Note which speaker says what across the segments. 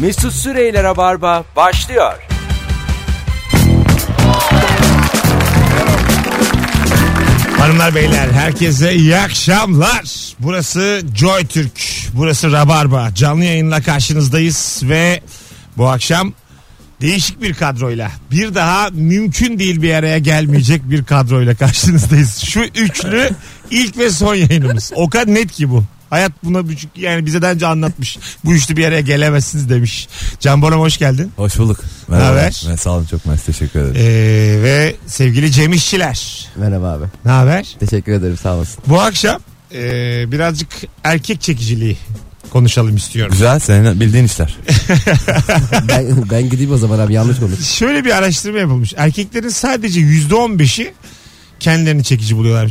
Speaker 1: Mesut Süreyler'e barba başlıyor.
Speaker 2: Hanımlar beyler herkese iyi akşamlar. Burası Joy Türk. Burası Rabarba. Canlı yayınla karşınızdayız ve bu akşam değişik bir kadroyla bir daha mümkün değil bir araya gelmeyecek bir kadroyla karşınızdayız. Şu üçlü ilk ve son yayınımız. O kadar net ki bu. Hayat buna büyük yani bize daha önce anlatmış. Bu üçlü bir araya gelemezsiniz demiş. Can Bonomo hoş geldin.
Speaker 3: Hoş bulduk.
Speaker 2: Haber?
Speaker 3: Ben sağ olun çok mersi teşekkür ederim.
Speaker 2: Ee, ve sevgili Cem İşçiler.
Speaker 4: Merhaba abi.
Speaker 2: Ne haber?
Speaker 4: Teşekkür ederim sağ olasın.
Speaker 2: Bu akşam e, birazcık erkek çekiciliği konuşalım istiyorum.
Speaker 3: Güzel senin bildiğin işler.
Speaker 4: Ben, ben gideyim o zaman abi yanlış konuş.
Speaker 2: Şöyle bir araştırma yapılmış. Erkeklerin sadece %15'i kendilerini çekici buluyorlar.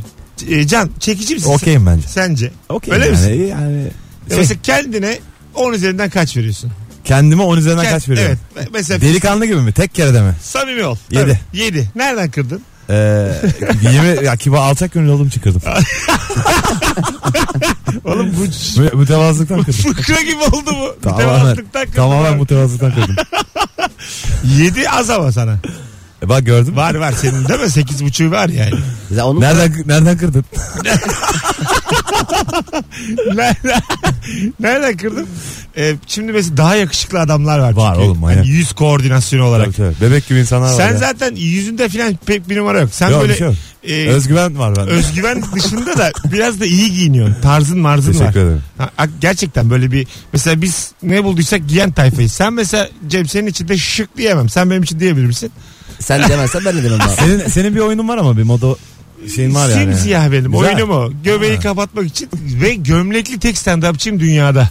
Speaker 2: E, Can çekici misin?
Speaker 3: Okeyim bence.
Speaker 2: Sence?
Speaker 3: Okey
Speaker 2: Öyle
Speaker 3: yani,
Speaker 2: misin?
Speaker 3: yani
Speaker 2: Ya Mesela kendine 10 üzerinden kaç veriyorsun?
Speaker 3: kendime 10 üzerinden
Speaker 2: Kend-
Speaker 3: kaç veriyorum?
Speaker 2: Evet. Mesela
Speaker 3: Delikanlı gibi mi? Tek kere de mi?
Speaker 2: samimi ol.
Speaker 3: Yedi.
Speaker 2: 7. Nereden kırdın?
Speaker 3: Ee, yirmi- ya kibar alçak gönüllü olduğum çıkırdım.
Speaker 2: Oğlum bu
Speaker 3: mütevazılıktan kırdım.
Speaker 2: fıkra gibi oldu bu.
Speaker 3: tamamen, tamamen mütevazılıktan kırdım.
Speaker 2: 7 az ama sana.
Speaker 3: E bak gördün mü?
Speaker 2: Var var senin değil mi? 8.5'u var yani.
Speaker 4: Ya onun
Speaker 3: Nereden, nereden kırdın?
Speaker 2: Nereden, nereden kırdım? Ee, şimdi mesela daha yakışıklı adamlar var.
Speaker 3: Var
Speaker 2: çünkü. Hani
Speaker 3: oğlum, manyak.
Speaker 2: yüz koordinasyonu olarak.
Speaker 3: Tabii, tabii. Bebek gibi insanlar var
Speaker 2: Sen
Speaker 3: ya.
Speaker 2: zaten yüzünde falan pek bir numara yok. Sen
Speaker 3: Yok,
Speaker 2: böyle
Speaker 3: bir şey yok.
Speaker 2: e,
Speaker 3: Özgüven var bende.
Speaker 2: özgüven dışında da biraz da iyi giyiniyorsun. Tarzın marzın
Speaker 3: Teşekkür
Speaker 2: var.
Speaker 3: ederim.
Speaker 2: Ha, ha, gerçekten böyle bir mesela biz ne bulduysak giyen tayfayız. Sen mesela Cem senin için de şık diyemem. Sen benim için diyebilir misin?
Speaker 4: sen demezsen ben de demem abi.
Speaker 3: senin, senin bir oyunun var ama bir moda şeyin var yani.
Speaker 2: Simsiyah benim.
Speaker 3: Güzel.
Speaker 2: Oyunum o. Göbeği
Speaker 3: Ha.
Speaker 2: kapatmak için ve gömlekli tek stand-upçıyım dünyada.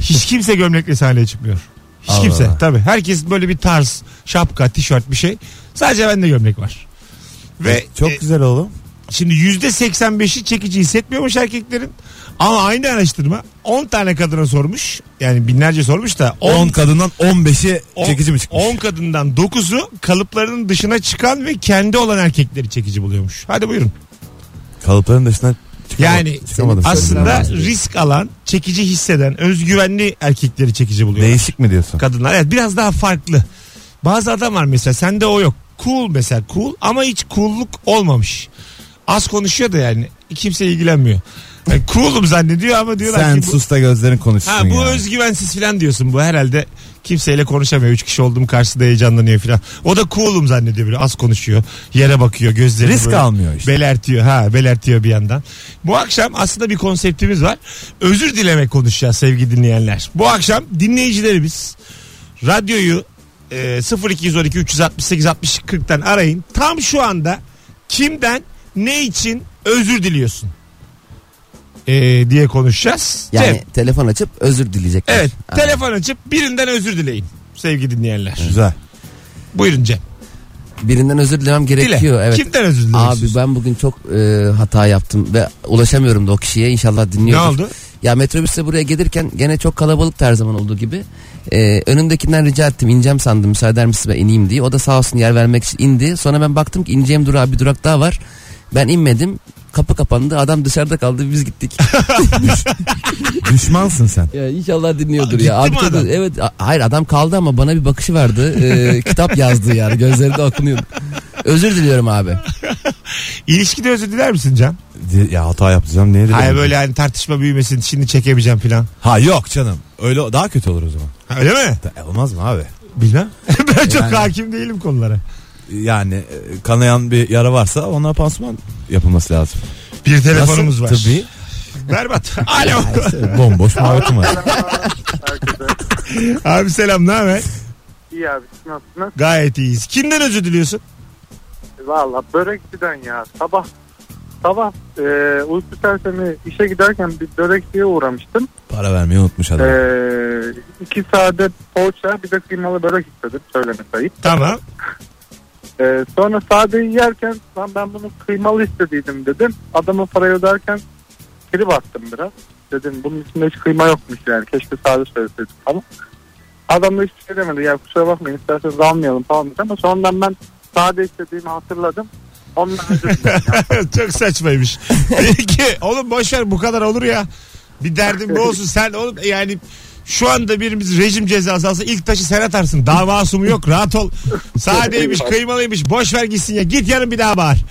Speaker 2: Hiç kimse gömlekli sahneye çıkmıyor. Hiç
Speaker 3: Allah
Speaker 2: kimse.
Speaker 3: Allah.
Speaker 2: Tabii. Herkes böyle bir tarz, şapka, tişört bir şey. Sadece bende gömlek var. Ve
Speaker 3: Çok
Speaker 2: e,
Speaker 3: güzel oğlum.
Speaker 2: şimdi yüzde 85'i çekici hissetmiyormuş erkeklerin. Ama aynı araştırma 10 tane kadına sormuş. Yani binlerce sormuş da
Speaker 3: 10,
Speaker 2: 10
Speaker 3: kadından 15'i
Speaker 2: on-
Speaker 3: çekici mi çıkmış?
Speaker 2: 10 kadından 9'u kalıplarının dışına çıkan ve kendi olan erkekleri çekici buluyormuş. Hadi buyurun.
Speaker 3: Kalıpların dışına çıkama-
Speaker 2: Yani
Speaker 3: çıkamadım.
Speaker 2: Aslında
Speaker 4: Kadınlar bahsediyor.
Speaker 2: risk alan, çekici hisseden, özgüvenli erkekleri çekici buluyor.
Speaker 3: Değişik mi diyorsun?
Speaker 2: Kadınlar evet biraz daha farklı. Bazı adam var mesela sende o yok. Cool mesela cool ama hiç cool'luk olmamış. Az konuşuyor da yani kimse ilgilenmiyor. Yani cool'um zannediyor ama diyorlar
Speaker 3: Sen
Speaker 2: ki bu,
Speaker 3: sus da gözlerin konuşsun
Speaker 2: ha, bu
Speaker 3: yani.
Speaker 2: özgüvensiz falan diyorsun. Bu herhalde kimseyle konuşamıyor. Üç kişi olduğum karşısında heyecanlanıyor falan. O da cool'um zannediyor böyle az konuşuyor. Yere bakıyor gözleri
Speaker 3: Risk
Speaker 2: böyle
Speaker 3: almıyor işte.
Speaker 2: Belertiyor ha belertiyor bir yandan. Bu akşam aslında bir konseptimiz var. Özür dilemek konuşacağız sevgili dinleyenler. Bu akşam dinleyicilerimiz radyoyu e, 0212 368 60 40'tan arayın. Tam şu anda kimden ne için özür diliyorsun? E, diye konuşacağız.
Speaker 4: Yani
Speaker 2: Cem,
Speaker 4: telefon açıp özür dileyecekler.
Speaker 2: evet
Speaker 4: Ha.
Speaker 2: telefon açıp birinden özür dileyin sevgili dinleyenler.
Speaker 3: Güzel.
Speaker 2: Buyurun Cem.
Speaker 4: Birinden özür dilemem
Speaker 2: Dile.
Speaker 4: gerekiyor. Evet.
Speaker 2: Kimden özür diliyorsun?
Speaker 4: Abi ben bugün çok e, hata yaptım ve ulaşamıyorum da o kişiye inşallah
Speaker 2: ne
Speaker 4: dinliyordur.
Speaker 2: oldu?
Speaker 4: Ya metrobüste buraya gelirken gene çok kalabalıktı her zaman olduğu gibi. E, önümdekinden rica ettim ineceğim sandım müsaade eder misin ben ineyim diye. O da sağ olsun yer vermek için indi. Sonra ben baktım ki ineceğim durağa bir durak daha var. Ben inmedim kapı kapandı adam dışarıda kaldı biz gittik.
Speaker 3: Düşmansın sen.
Speaker 4: Ya inşallah dinliyordur
Speaker 2: Aa,
Speaker 4: ya.
Speaker 2: gitti mi
Speaker 4: tabii-
Speaker 2: adam?
Speaker 4: evet a- hayır adam kaldı ama bana bir bakışı vardı. Ee, kitap yazdı yani gözlerinde okunuyordu. Özür diliyorum abi.
Speaker 2: İlişkide özür diler misin Can?
Speaker 3: Di- Ya hata yapacağım niye dedim?
Speaker 2: Hayır böyle hani tartışma büyümesin şimdi çekemeyeceğim falan.
Speaker 3: Ha yok canım. Öyle daha kötü olur o zaman.
Speaker 2: Ha, Öyle mi?
Speaker 3: Da- e, Olmaz mı abi?
Speaker 2: Bilmem. ben çok
Speaker 3: Yani-
Speaker 2: hakim değilim konulara.
Speaker 3: Yani e, kanayan bir yara varsa ona pansuman yapılması lazım.
Speaker 2: Bir telefonumuz
Speaker 3: Nasıl?
Speaker 2: var.
Speaker 3: Tabii.
Speaker 2: Berbat. Alo.
Speaker 3: Bomboş muhabbetim var.
Speaker 5: Herkese.
Speaker 2: Abi selam ne haber?
Speaker 5: İyi abi siz nasılsınız? E,
Speaker 2: Gayet iyiyiz. Kimden özür diliyorsun?
Speaker 5: Valla börekçiden ya sabah sabah e, uyku sersemi işe giderken bir börekçiye uğramıştım.
Speaker 3: Para vermeyi unutmuş
Speaker 5: E,
Speaker 3: adam.
Speaker 5: iki sade poğaça bir de kıymalı börek istedim söylemesi ayıp.
Speaker 2: Tamam.
Speaker 5: E, sonra sadeyi yerken lan ben bunu kıymalı istediydim dedim. Adama parayı öderken kiri bastım biraz. Dedim bunun içinde hiç kıyma yokmuş yani keşke sade söyleseydim falan. Adam da hiçbir şey demedi ya kusura bakmayın isterseniz almayalım falan dedi ama sonradan ben sade istediğimi hatırladım. Ondan özür dilerim.
Speaker 2: çok saçmaymış. Peki oğlum boş ver bu kadar olur ya. Bir derdin bu olsun. Sen oğlum yani Şu anda birimiz rejim cezası alsa ilk taşı sen atarsın. Daha masumu yok rahat ol. Sadeymiş kıymalıymış boş ver gitsin ya. Git yarın bir daha bağır.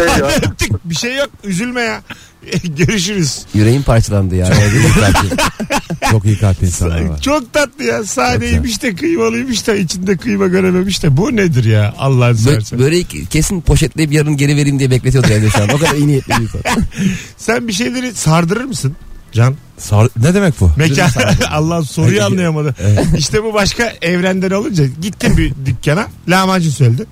Speaker 5: Eyvallah.
Speaker 2: Öptük. bir şey yok üzülme ya. Görüşürüz.
Speaker 4: Yüreğim parçalandı ya. Yüreğim parçalandı.
Speaker 3: Çok iyi kalpli insanlar var.
Speaker 2: Çok tatlı ya. Sadeymiş de kıymalıymış da içinde kıyma görememiş de. Bu nedir ya Allah'ını
Speaker 4: Bö-
Speaker 2: seversen.
Speaker 4: böreği kesin poşetleyip yarın geri vereyim diye bekletiyordu evde şu an. O kadar iyi niyetli bir insan.
Speaker 2: Sen bir şeyleri sardırır mısın? Can.
Speaker 3: Sar- ne demek bu?
Speaker 2: Mekan. Allah soruyu
Speaker 3: Peki.
Speaker 2: anlayamadı. işte bu başka evrenden olunca gittin bir dükkana. Lahmacun söyledin.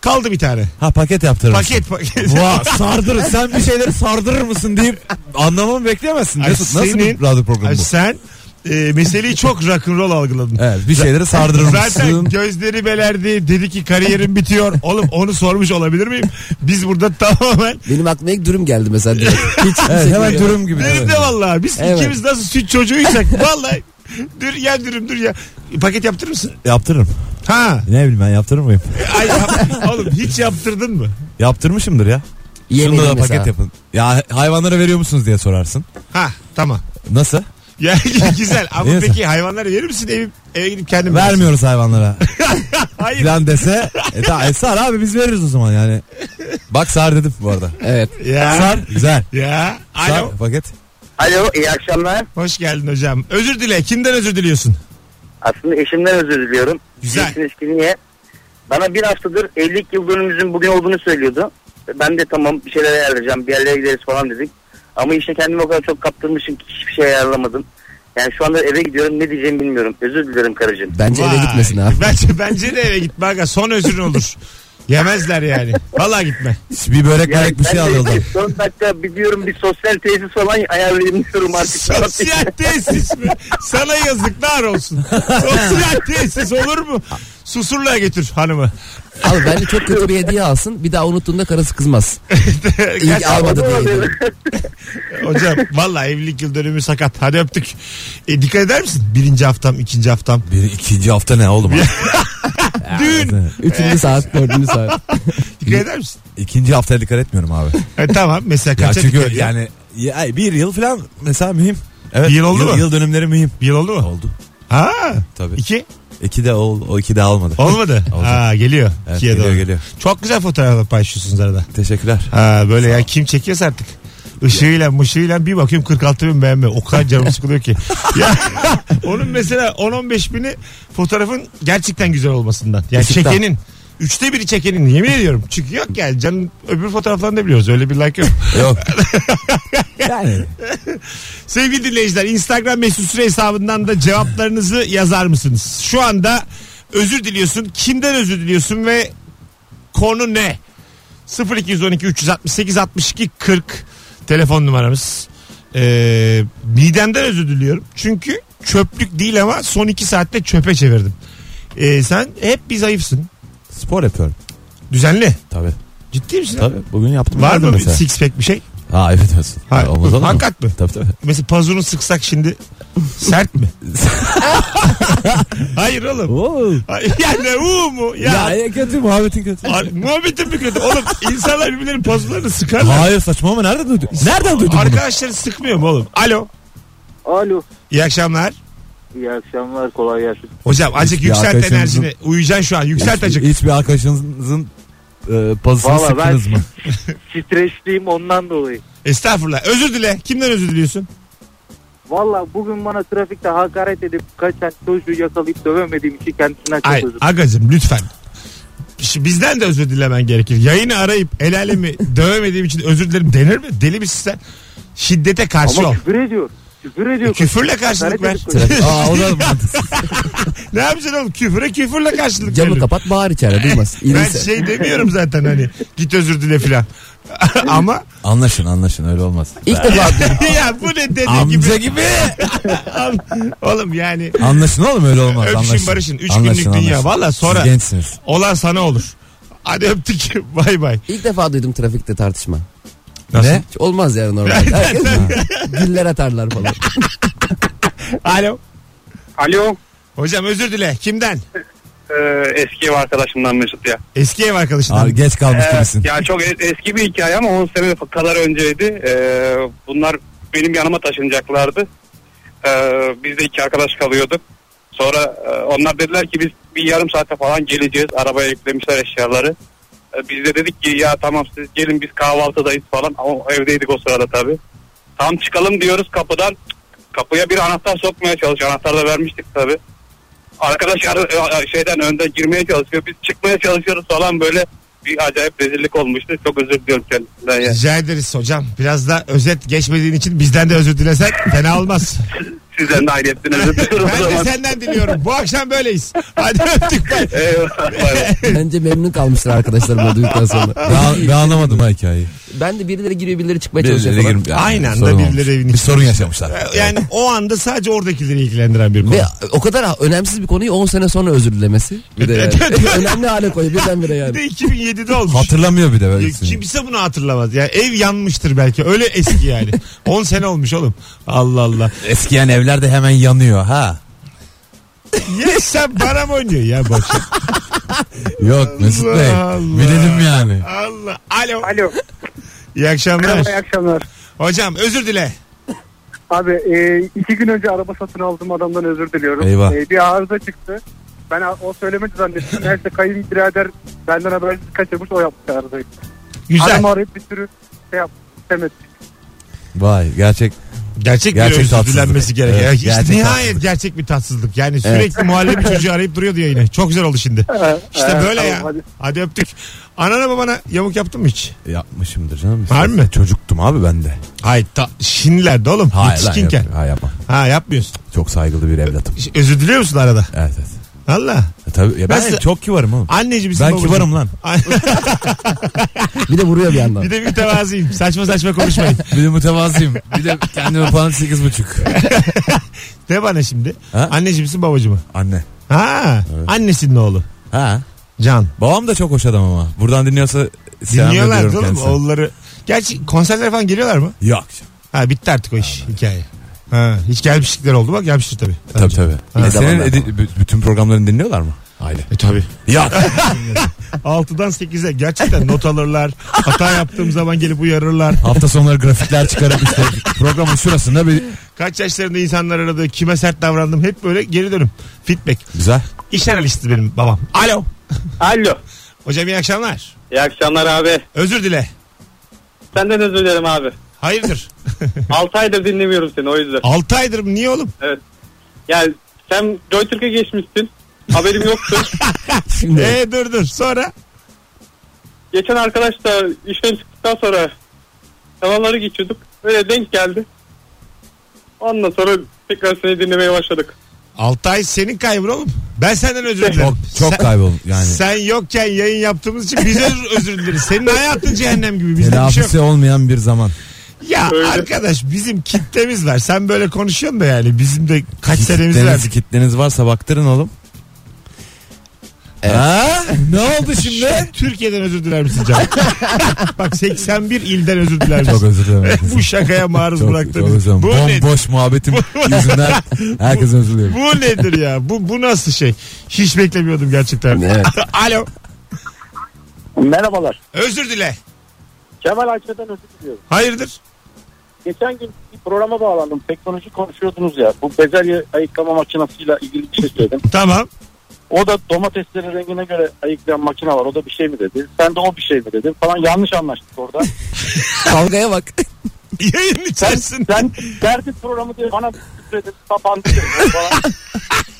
Speaker 2: Kaldı bir tane.
Speaker 3: Ha paket yaptırırsın.
Speaker 2: Paket paket.
Speaker 3: Vah sardırır. Sen bir şeyleri sardırır mısın deyip anlamamı bekleyemezsin.
Speaker 2: Ay,
Speaker 3: Mesut, nasıl
Speaker 2: senin-
Speaker 3: bir radyo programı
Speaker 2: Ay
Speaker 3: bu?
Speaker 2: sen e, meseleyi çok rock'n'roll algıladın.
Speaker 3: Evet bir şeyleri sardırır
Speaker 2: Zaten
Speaker 3: mısın?
Speaker 2: gözleri belerdi. Dedi ki kariyerim bitiyor. Oğlum onu sormuş olabilir miyim? Biz burada tamamen
Speaker 4: Benim aklıma ilk dürüm geldi mesela. direkt. Hiç
Speaker 3: Evet
Speaker 4: kimse
Speaker 3: hemen
Speaker 4: bilmiyor.
Speaker 3: dürüm gibi.
Speaker 2: Biz
Speaker 3: Evet.
Speaker 2: de vallahi biz
Speaker 4: Evet.
Speaker 2: ikimiz nasıl süt çocuğuysak vallahi dur ya dürüm dur ya. Paket yaptırır mısın?
Speaker 3: Yaptırırım.
Speaker 2: Ha.
Speaker 3: Ne bileyim ben yaptırır mıyım?
Speaker 2: Ay, oğlum hiç yaptırdın mı?
Speaker 3: Yaptırmışımdır ya.
Speaker 4: Yemedim
Speaker 3: Şunu da
Speaker 4: mesela.
Speaker 3: paket yapın. Ya hayvanlara veriyor musunuz diye sorarsın.
Speaker 2: Ha tamam.
Speaker 3: Nasıl?
Speaker 2: Ya güzel ama
Speaker 3: Neyse.
Speaker 2: peki hayvanlara verir misin eve, eve gidip kendin mi yersin?
Speaker 3: Vermiyoruz hayvanlara.
Speaker 2: Hayır.
Speaker 3: Falan dese. E, ta, e, sar abi biz veririz o zaman yani. Bak sar dedim bu arada.
Speaker 4: Evet.
Speaker 2: Ya.
Speaker 3: Sar güzel.
Speaker 2: Ya. Alo.
Speaker 3: Sar paket.
Speaker 6: Alo iyi akşamlar.
Speaker 2: Hoş geldin hocam. Özür dile. Kimden özür diliyorsun?
Speaker 6: Aslında eşimden özür diliyorum.
Speaker 2: Güzel.
Speaker 6: Diyeceksiniz ki niye? Bana bir haftadır 50 yıl dönümümüzün bugün olduğunu söylüyordu. Ben de tamam bir şeyler ayarlayacağım bir yerlere gideriz falan dedik. Ama işte kendimi o kadar çok kaptırmışım ki hiçbir şey ayarlamadım. Yani şu anda eve gidiyorum ne diyeceğimi bilmiyorum. Özür dilerim karıcığım.
Speaker 4: Bence eve
Speaker 2: Vay.
Speaker 4: gitmesin abi.
Speaker 2: Bence, bence de eve gitme. aga. Son özrün olur. Yemezler yani. Valla gitme.
Speaker 3: Bir börek
Speaker 6: Yani
Speaker 3: börek bir
Speaker 6: ben
Speaker 3: şey
Speaker 6: de
Speaker 3: al yoldan.
Speaker 6: Son dakika bir diyorum bir sosyal tesis falan ayarlayayım diyorum artık.
Speaker 2: Sosyal tesis mi? Sana yazıklar olsun. Sosyal tesis olur mu? Susurluğa götür hanımı.
Speaker 4: Abi bence çok kötü bir hediye alsın. Bir daha unuttuğunda karısı kızmaz. İyi ki almadı diye. hediye.
Speaker 2: Hocam valla evlilik yıl dönümü sakat. Hadi öptük. E, dikkat eder misin? Birinci haftam, ikinci haftam.
Speaker 3: Bir ikinci hafta ne oğlum?
Speaker 2: Düğün.
Speaker 4: Üçüncü saat, dördüncü saat.
Speaker 2: Dikkat eder misin?
Speaker 3: ikinci haftaya dikkat etmiyorum abi.
Speaker 2: E, tamam mesela
Speaker 3: Ya
Speaker 2: kaça
Speaker 3: çünkü
Speaker 2: dikkat yani...
Speaker 3: yani ya bir yıl falan mesela mühim. Evet,
Speaker 2: Bir yıl oldu mu?
Speaker 3: Yıl dönümleri mühim.
Speaker 2: Bir yıl oldu mu?
Speaker 3: Oldu.
Speaker 2: Ha.
Speaker 3: Tabii.
Speaker 2: İki.
Speaker 3: İki de ol, o iki de almadı.
Speaker 2: Olmadı.
Speaker 3: Oldu.
Speaker 2: ha geliyor.
Speaker 3: Evet,
Speaker 2: İkiye
Speaker 3: geliyor
Speaker 2: doğru.
Speaker 3: geliyor.
Speaker 2: Çok güzel fotoğraflar paylaşıyorsunuz arada.
Speaker 3: Teşekkürler.
Speaker 2: Ha böyle ya kim çekiyorsa artık. Işığıyla mışığıyla bir bakıyorum 46 bin beğenme. O kadar canım sıkılıyor ki. Ya, onun mesela 10-15 bini fotoğrafın gerçekten güzel olmasından. Yani
Speaker 4: Işıktan.
Speaker 2: çekenin. Üçte biri çekenin yemin ediyorum. Çünkü yok yani canım öbür fotoğraflarını da biliyoruz. Öyle bir like yok.
Speaker 3: Yok. yani
Speaker 2: Sevgili dinleyiciler Instagram mesut süre hesabından da cevaplarınızı yazar mısınız? Şu anda özür diliyorsun. Kimden özür diliyorsun ve konu ne? 0212 368 62 40 telefon numaramız. Ee, midemden özür diliyorum. Çünkü çöplük değil ama son iki saatte çöpe çevirdim. Ee, sen hep bir zayıfsın.
Speaker 3: spor yapıyorum.
Speaker 2: Düzenli.
Speaker 3: Tabii.
Speaker 2: Ciddi misin?
Speaker 3: Tabii. Bugün yaptım.
Speaker 2: Var
Speaker 3: Nerede
Speaker 2: mı bir six pack bir şey?
Speaker 3: Ha evet Mesut.
Speaker 2: Ha,
Speaker 3: Ha, olmaz olur mu?
Speaker 2: hakikat mi?
Speaker 3: Tabii tabii.
Speaker 2: Mesela pazunu sıksak şimdi sert mi? Hayır oğlum. Ay, Yani u mu? Ya,
Speaker 3: Ya, ya kötü muhabbetin kötü.
Speaker 2: Ar- muhabbetin bir kötü. Oğlum insanlar birbirlerinin pazularını sıkarlar.
Speaker 3: Hayır saçma ama nerede duydun? Nereden duydun bunu?
Speaker 2: Arkadaşları sıkmıyor mu oğlum? Alo.
Speaker 5: Alo.
Speaker 2: İyi akşamlar.
Speaker 5: İyi akşamlar kolay gelsin.
Speaker 2: Hocam azıcık
Speaker 3: Hiçbir
Speaker 2: yükselt
Speaker 3: arkadaşımızın-
Speaker 2: enerjini. Uyuyacaksın şu an. Yükselt
Speaker 3: Hiç-
Speaker 2: azıcık.
Speaker 3: Hiçbir arkadaşınızın e, pazısını
Speaker 5: Vallahi
Speaker 3: sıktınız
Speaker 5: ben-
Speaker 3: mı?
Speaker 5: Stresliyim ondan dolayı.
Speaker 2: Estağfurullah. Özür dile. Kimden özür diliyorsun?
Speaker 5: Valla bugün bana trafikte hakaret edip kaçan çocuğu yakalayıp dövemediğim için kendisinden çok
Speaker 2: Ay
Speaker 5: özür
Speaker 2: agacım lütfen. Şi- Bizden de özür dilemen gerekir. Yayını arayıp el alemi dövemediğim için özür dilerim denir mi? Deli misin sen? Şiddete karşı
Speaker 5: Ama
Speaker 2: ol.
Speaker 5: küfür ediyor. Küfür ediyor.
Speaker 2: E, Küfürle karşılık
Speaker 5: Hakaret
Speaker 2: ver.
Speaker 5: edip koyuyor.
Speaker 3: Aa o da mantıksız.
Speaker 2: ne yapacaksın oğlum? Küfüre küfürle karşılık
Speaker 4: Camı
Speaker 2: veririm.
Speaker 4: kapat bağır içeride duymaz.
Speaker 2: Ben
Speaker 4: İğrense.
Speaker 2: şey demiyorum zaten hani git özür dile filan. Ama
Speaker 3: Anlaşın anlaşın öyle olmaz.
Speaker 4: İlk defa
Speaker 2: ya bu ne dede
Speaker 3: Amca
Speaker 2: gibi.
Speaker 3: gibi.
Speaker 2: oğlum yani
Speaker 3: Anlaşın oğlum öyle olmaz.
Speaker 2: Öpüşün,
Speaker 3: anlaşın.
Speaker 2: barışın. Üç
Speaker 3: Anlaşın,
Speaker 2: günlük dünya. Valla sonra-
Speaker 3: Siz gençsiniz.
Speaker 2: olan sana olur. Hadi öptük. Bay bay.
Speaker 4: İlk defa duydum trafikte tartışma.
Speaker 2: Nasıl?
Speaker 3: Ne?
Speaker 4: Hiç olmaz yani normalde. Herkes güller atarlar falan.
Speaker 2: Alo.
Speaker 6: Alo
Speaker 2: Hocam özür dile. Kimden?
Speaker 6: e, eski ev arkadaşımdan Mesut ya.
Speaker 2: Eski ev arkadaşından.
Speaker 3: Abi geç kalmış
Speaker 2: Ee,
Speaker 3: gibisin.
Speaker 6: yani çok e, eski bir hikaye E, ama 10 sene kadar önceydi. bunlar benim yanıma taşınacaklardı.
Speaker 7: Ee, biz de iki arkadaş kalıyorduk. Sonra e, onlar dediler ki biz bir yarım saate falan geleceğiz. Arabaya yüklemişler eşyaları. Ee, biz de dedik ki ya tamam siz gelin biz kahvaltıdayız falan. Ama evdeydik o sırada tabii. Tam çıkalım diyoruz kapıdan. Kapıya bir anahtar sokmaya çalışıyor. Anahtarı da vermiştik tabii. Arkadaş ar- e, şeyden önde girmeye çalışıyor. Biz çıkmaya çalışıyoruz falan böyle bir acayip rezillik olmuştu. Çok özür diliyorum kendisinden. ya.
Speaker 2: Rica ederiz hocam. Biraz da özet geçmediğin için bizden de özür dilesen fena olmaz.
Speaker 7: Sizden de aynı hepsini özür diliyorum. o
Speaker 2: ben de
Speaker 7: zaman.
Speaker 2: senden diliyorum. Bu akşam böyleyiz. Hadi öptük bay.
Speaker 7: Eyvallah. bay bay.
Speaker 4: Bence memnun kalmıştır arkadaşlar bunu duyduktan sonra.
Speaker 3: Ben, ben anlamadım ha hikayeyi.
Speaker 4: Ben de birileri giriyor birileri çıkmaya çalışıyor
Speaker 3: Birileri
Speaker 4: falan.
Speaker 3: girip- yani
Speaker 2: Aynı anda
Speaker 3: sorun
Speaker 2: birileri
Speaker 3: olmuş.
Speaker 2: evin
Speaker 3: Bir
Speaker 2: içine-
Speaker 3: sorun yaşamışlar.
Speaker 2: Yani o anda sadece oradakileri ilgilendiren bir konu.
Speaker 4: Ve o kadar önemsiz bir konuyu 10 sene sonra özür dilemesi. Bir de yani. Önemli hale koyuyor birdenbire
Speaker 2: Bir
Speaker 4: yani.
Speaker 2: de 2007'de olmuş.
Speaker 3: Hatırlamıyor bir de
Speaker 2: Ya
Speaker 3: böyle.
Speaker 2: kimse bunu hatırlamaz. Ya ev yanmıştır belki. Öyle eski yani. 10 sene olmuş oğlum. Allah Allah.
Speaker 3: Eskiyen evler de hemen yanıyor ha.
Speaker 2: Ya sen bana mı oynuyorsun ya boş. ver.
Speaker 3: Yok Mesut Bey.
Speaker 2: Allah Allah.
Speaker 3: Bilelim yani.
Speaker 2: Allah. Alo.
Speaker 5: Alo.
Speaker 2: İyi akşamlar.
Speaker 5: Merhaba iyi akşamlar.
Speaker 2: Hocam özür dile.
Speaker 5: Abi e, iki gün önce araba satın aldığım adamdan özür diliyorum.
Speaker 3: Eyvah.
Speaker 5: E, bir arıza çıktı. Ben a- o söylemedi zannettim. Neyse kayınbirader benden habersiz kaçırmış o yaptı arızayı.
Speaker 2: Güzel.
Speaker 5: Adamı arayıp bir sürü şey yaptı. Demet.
Speaker 3: Vay gerçek.
Speaker 2: Gerçek,
Speaker 3: Gerçek
Speaker 2: bir özür
Speaker 3: tatsızlık.
Speaker 2: dilenmesi gerek.
Speaker 3: Evet,
Speaker 2: Ya işte
Speaker 3: gerçek
Speaker 2: nihayet
Speaker 3: tatsızlık.
Speaker 2: gerçek bir tatsızlık. Yani sürekli muhallebi çocuğu arayıp duruyordu yayına. Çok güzel oldu şimdi. İşte böyle ya. Hadi.
Speaker 5: Hadi.
Speaker 2: öptük. Anana babana yamuk yaptın mı hiç?
Speaker 3: Yapmışımdır canım.
Speaker 2: Var mı?
Speaker 3: Çocuktum abi ben de.
Speaker 2: Hayır. Ta, şimdilerde oğlum.
Speaker 3: Hayır lan
Speaker 2: Yetişkinken.
Speaker 3: yapma. Hayır yapma.
Speaker 2: Ha yapmıyorsun.
Speaker 3: Çok saygılı bir evlatım.
Speaker 2: Ş- Özür diliyor musun arada?
Speaker 3: Evet evet.
Speaker 2: Allah.
Speaker 3: E, tabii, ya ben,
Speaker 2: Ben size-
Speaker 3: çok kibarım oğlum.
Speaker 2: Anneciğim misin
Speaker 3: Ben
Speaker 2: babacığım?
Speaker 3: kibarım lan.
Speaker 4: Bir de vuruyor bir yandan.
Speaker 2: Bir de mütevazıyım. Saçma saçma konuşmayın.
Speaker 3: Bir de mütevazıyım. Bir de kendime puanım sekiz buçuk.
Speaker 2: De bana şimdi.
Speaker 3: Ha?
Speaker 2: Anneciğim misin babacı mı?
Speaker 3: Anne.
Speaker 2: Ha. Annesinin oğlu.
Speaker 3: Ha.
Speaker 2: Can.
Speaker 3: Babam da çok hoş adam ama. Buradan dinliyorsa selam
Speaker 2: Dinliyorlar
Speaker 3: ediyorum
Speaker 2: oğlum
Speaker 3: kendisine.
Speaker 2: oğulları. Gerçi konserlere falan geliyorlar mı?
Speaker 3: Yok.
Speaker 2: Ha bitti artık o iş hikaye. Ha, hiç gelmişlikler oldu bak gelmiştir tabii.
Speaker 3: Tabii tabii.
Speaker 4: Ha.
Speaker 3: E, senin
Speaker 4: Devamlar.
Speaker 3: edi- b- bütün programlarını dinliyorlar mı? Aile.
Speaker 2: E tabii.
Speaker 3: Yok.
Speaker 2: 6'dan 8'e gerçekten not alırlar. Hata yaptığım zaman gelip uyarırlar.
Speaker 3: Hafta sonları grafikler çıkarıp işte programın şurasında bir...
Speaker 2: Kaç yaşlarında insanlar aradı. Kime sert davrandım. Hep böyle geri dönüm. Feedback.
Speaker 3: Güzel.
Speaker 2: İş analisti benim babam. Alo.
Speaker 7: Alo.
Speaker 2: Hocam iyi akşamlar.
Speaker 7: İyi akşamlar abi.
Speaker 2: Özür dile.
Speaker 7: Senden özür dilerim abi.
Speaker 2: Hayırdır?
Speaker 7: 6 aydır dinlemiyorum seni o yüzden.
Speaker 2: 6 aydır mı? Niye oğlum?
Speaker 7: Yani sen Joytürk'e geçmişsin. Haberim yoktu.
Speaker 4: Şimdi
Speaker 2: Ee dur dur. Sonra?
Speaker 7: Geçen arkadaş da işten çıktıktan sonra kanalları geçiyorduk. Öyle denk geldi. Ondan sonra tekrar seni dinlemeye başladık.
Speaker 2: 6 ay senin kaybın oğlum. Ben senden özür dilerim.
Speaker 3: Çok, çok kayboldum yani.
Speaker 2: Sen yokken yayın yaptığımız için biz özür, özür dileriz. Senin hayatın cehennem gibi. Bizde bir şey yok.
Speaker 3: Telafisi olmayan bir zaman.
Speaker 2: Ya
Speaker 7: Öyle.
Speaker 2: arkadaş bizim kitlemiz var. Sen böyle konuşuyorsun da yani bizim de kaç senemiz
Speaker 3: Kitleniz,
Speaker 2: verdik.
Speaker 3: kitleniz varsa baktırın oğlum.
Speaker 4: Evet.
Speaker 3: Ha? Ne oldu şimdi?
Speaker 2: Türkiye'den özür diler misin Can? Bak 81 ilden özür diler misin?
Speaker 3: çok özür dilerim.
Speaker 2: Bu şakaya maruz
Speaker 3: çok,
Speaker 2: bıraktın.
Speaker 3: çok özür dilerim.
Speaker 2: Bu nedir?
Speaker 3: Bomboş muhabbetim yüzünden herkese özür dilerim.
Speaker 2: Bu nedir ya? Bu, bu nasıl şey? Hiç beklemiyordum gerçekten.
Speaker 4: Evet.
Speaker 2: Alo.
Speaker 5: Merhabalar.
Speaker 2: Özür dile.
Speaker 5: Kemal Ayça'dan özür diliyorum.
Speaker 2: Hayırdır?
Speaker 5: Geçen gün bir programa bağlandım. Teknoloji konuşuyordunuz ya. Bu bezelye ayıklama makinasıyla ilgili bir şey söyledim.
Speaker 2: Tamam.
Speaker 5: O da domatesleri rengine göre ayıklayan makine var. O da bir şey mi dedi? Sen de o bir şey mi dedin? Falan yanlış anlaştık orada.
Speaker 4: kavgaya bak.
Speaker 2: Yayın
Speaker 5: Sen,
Speaker 2: içerisinde.
Speaker 5: sen derdi programı diye bana söyledin. Kapandı. falan.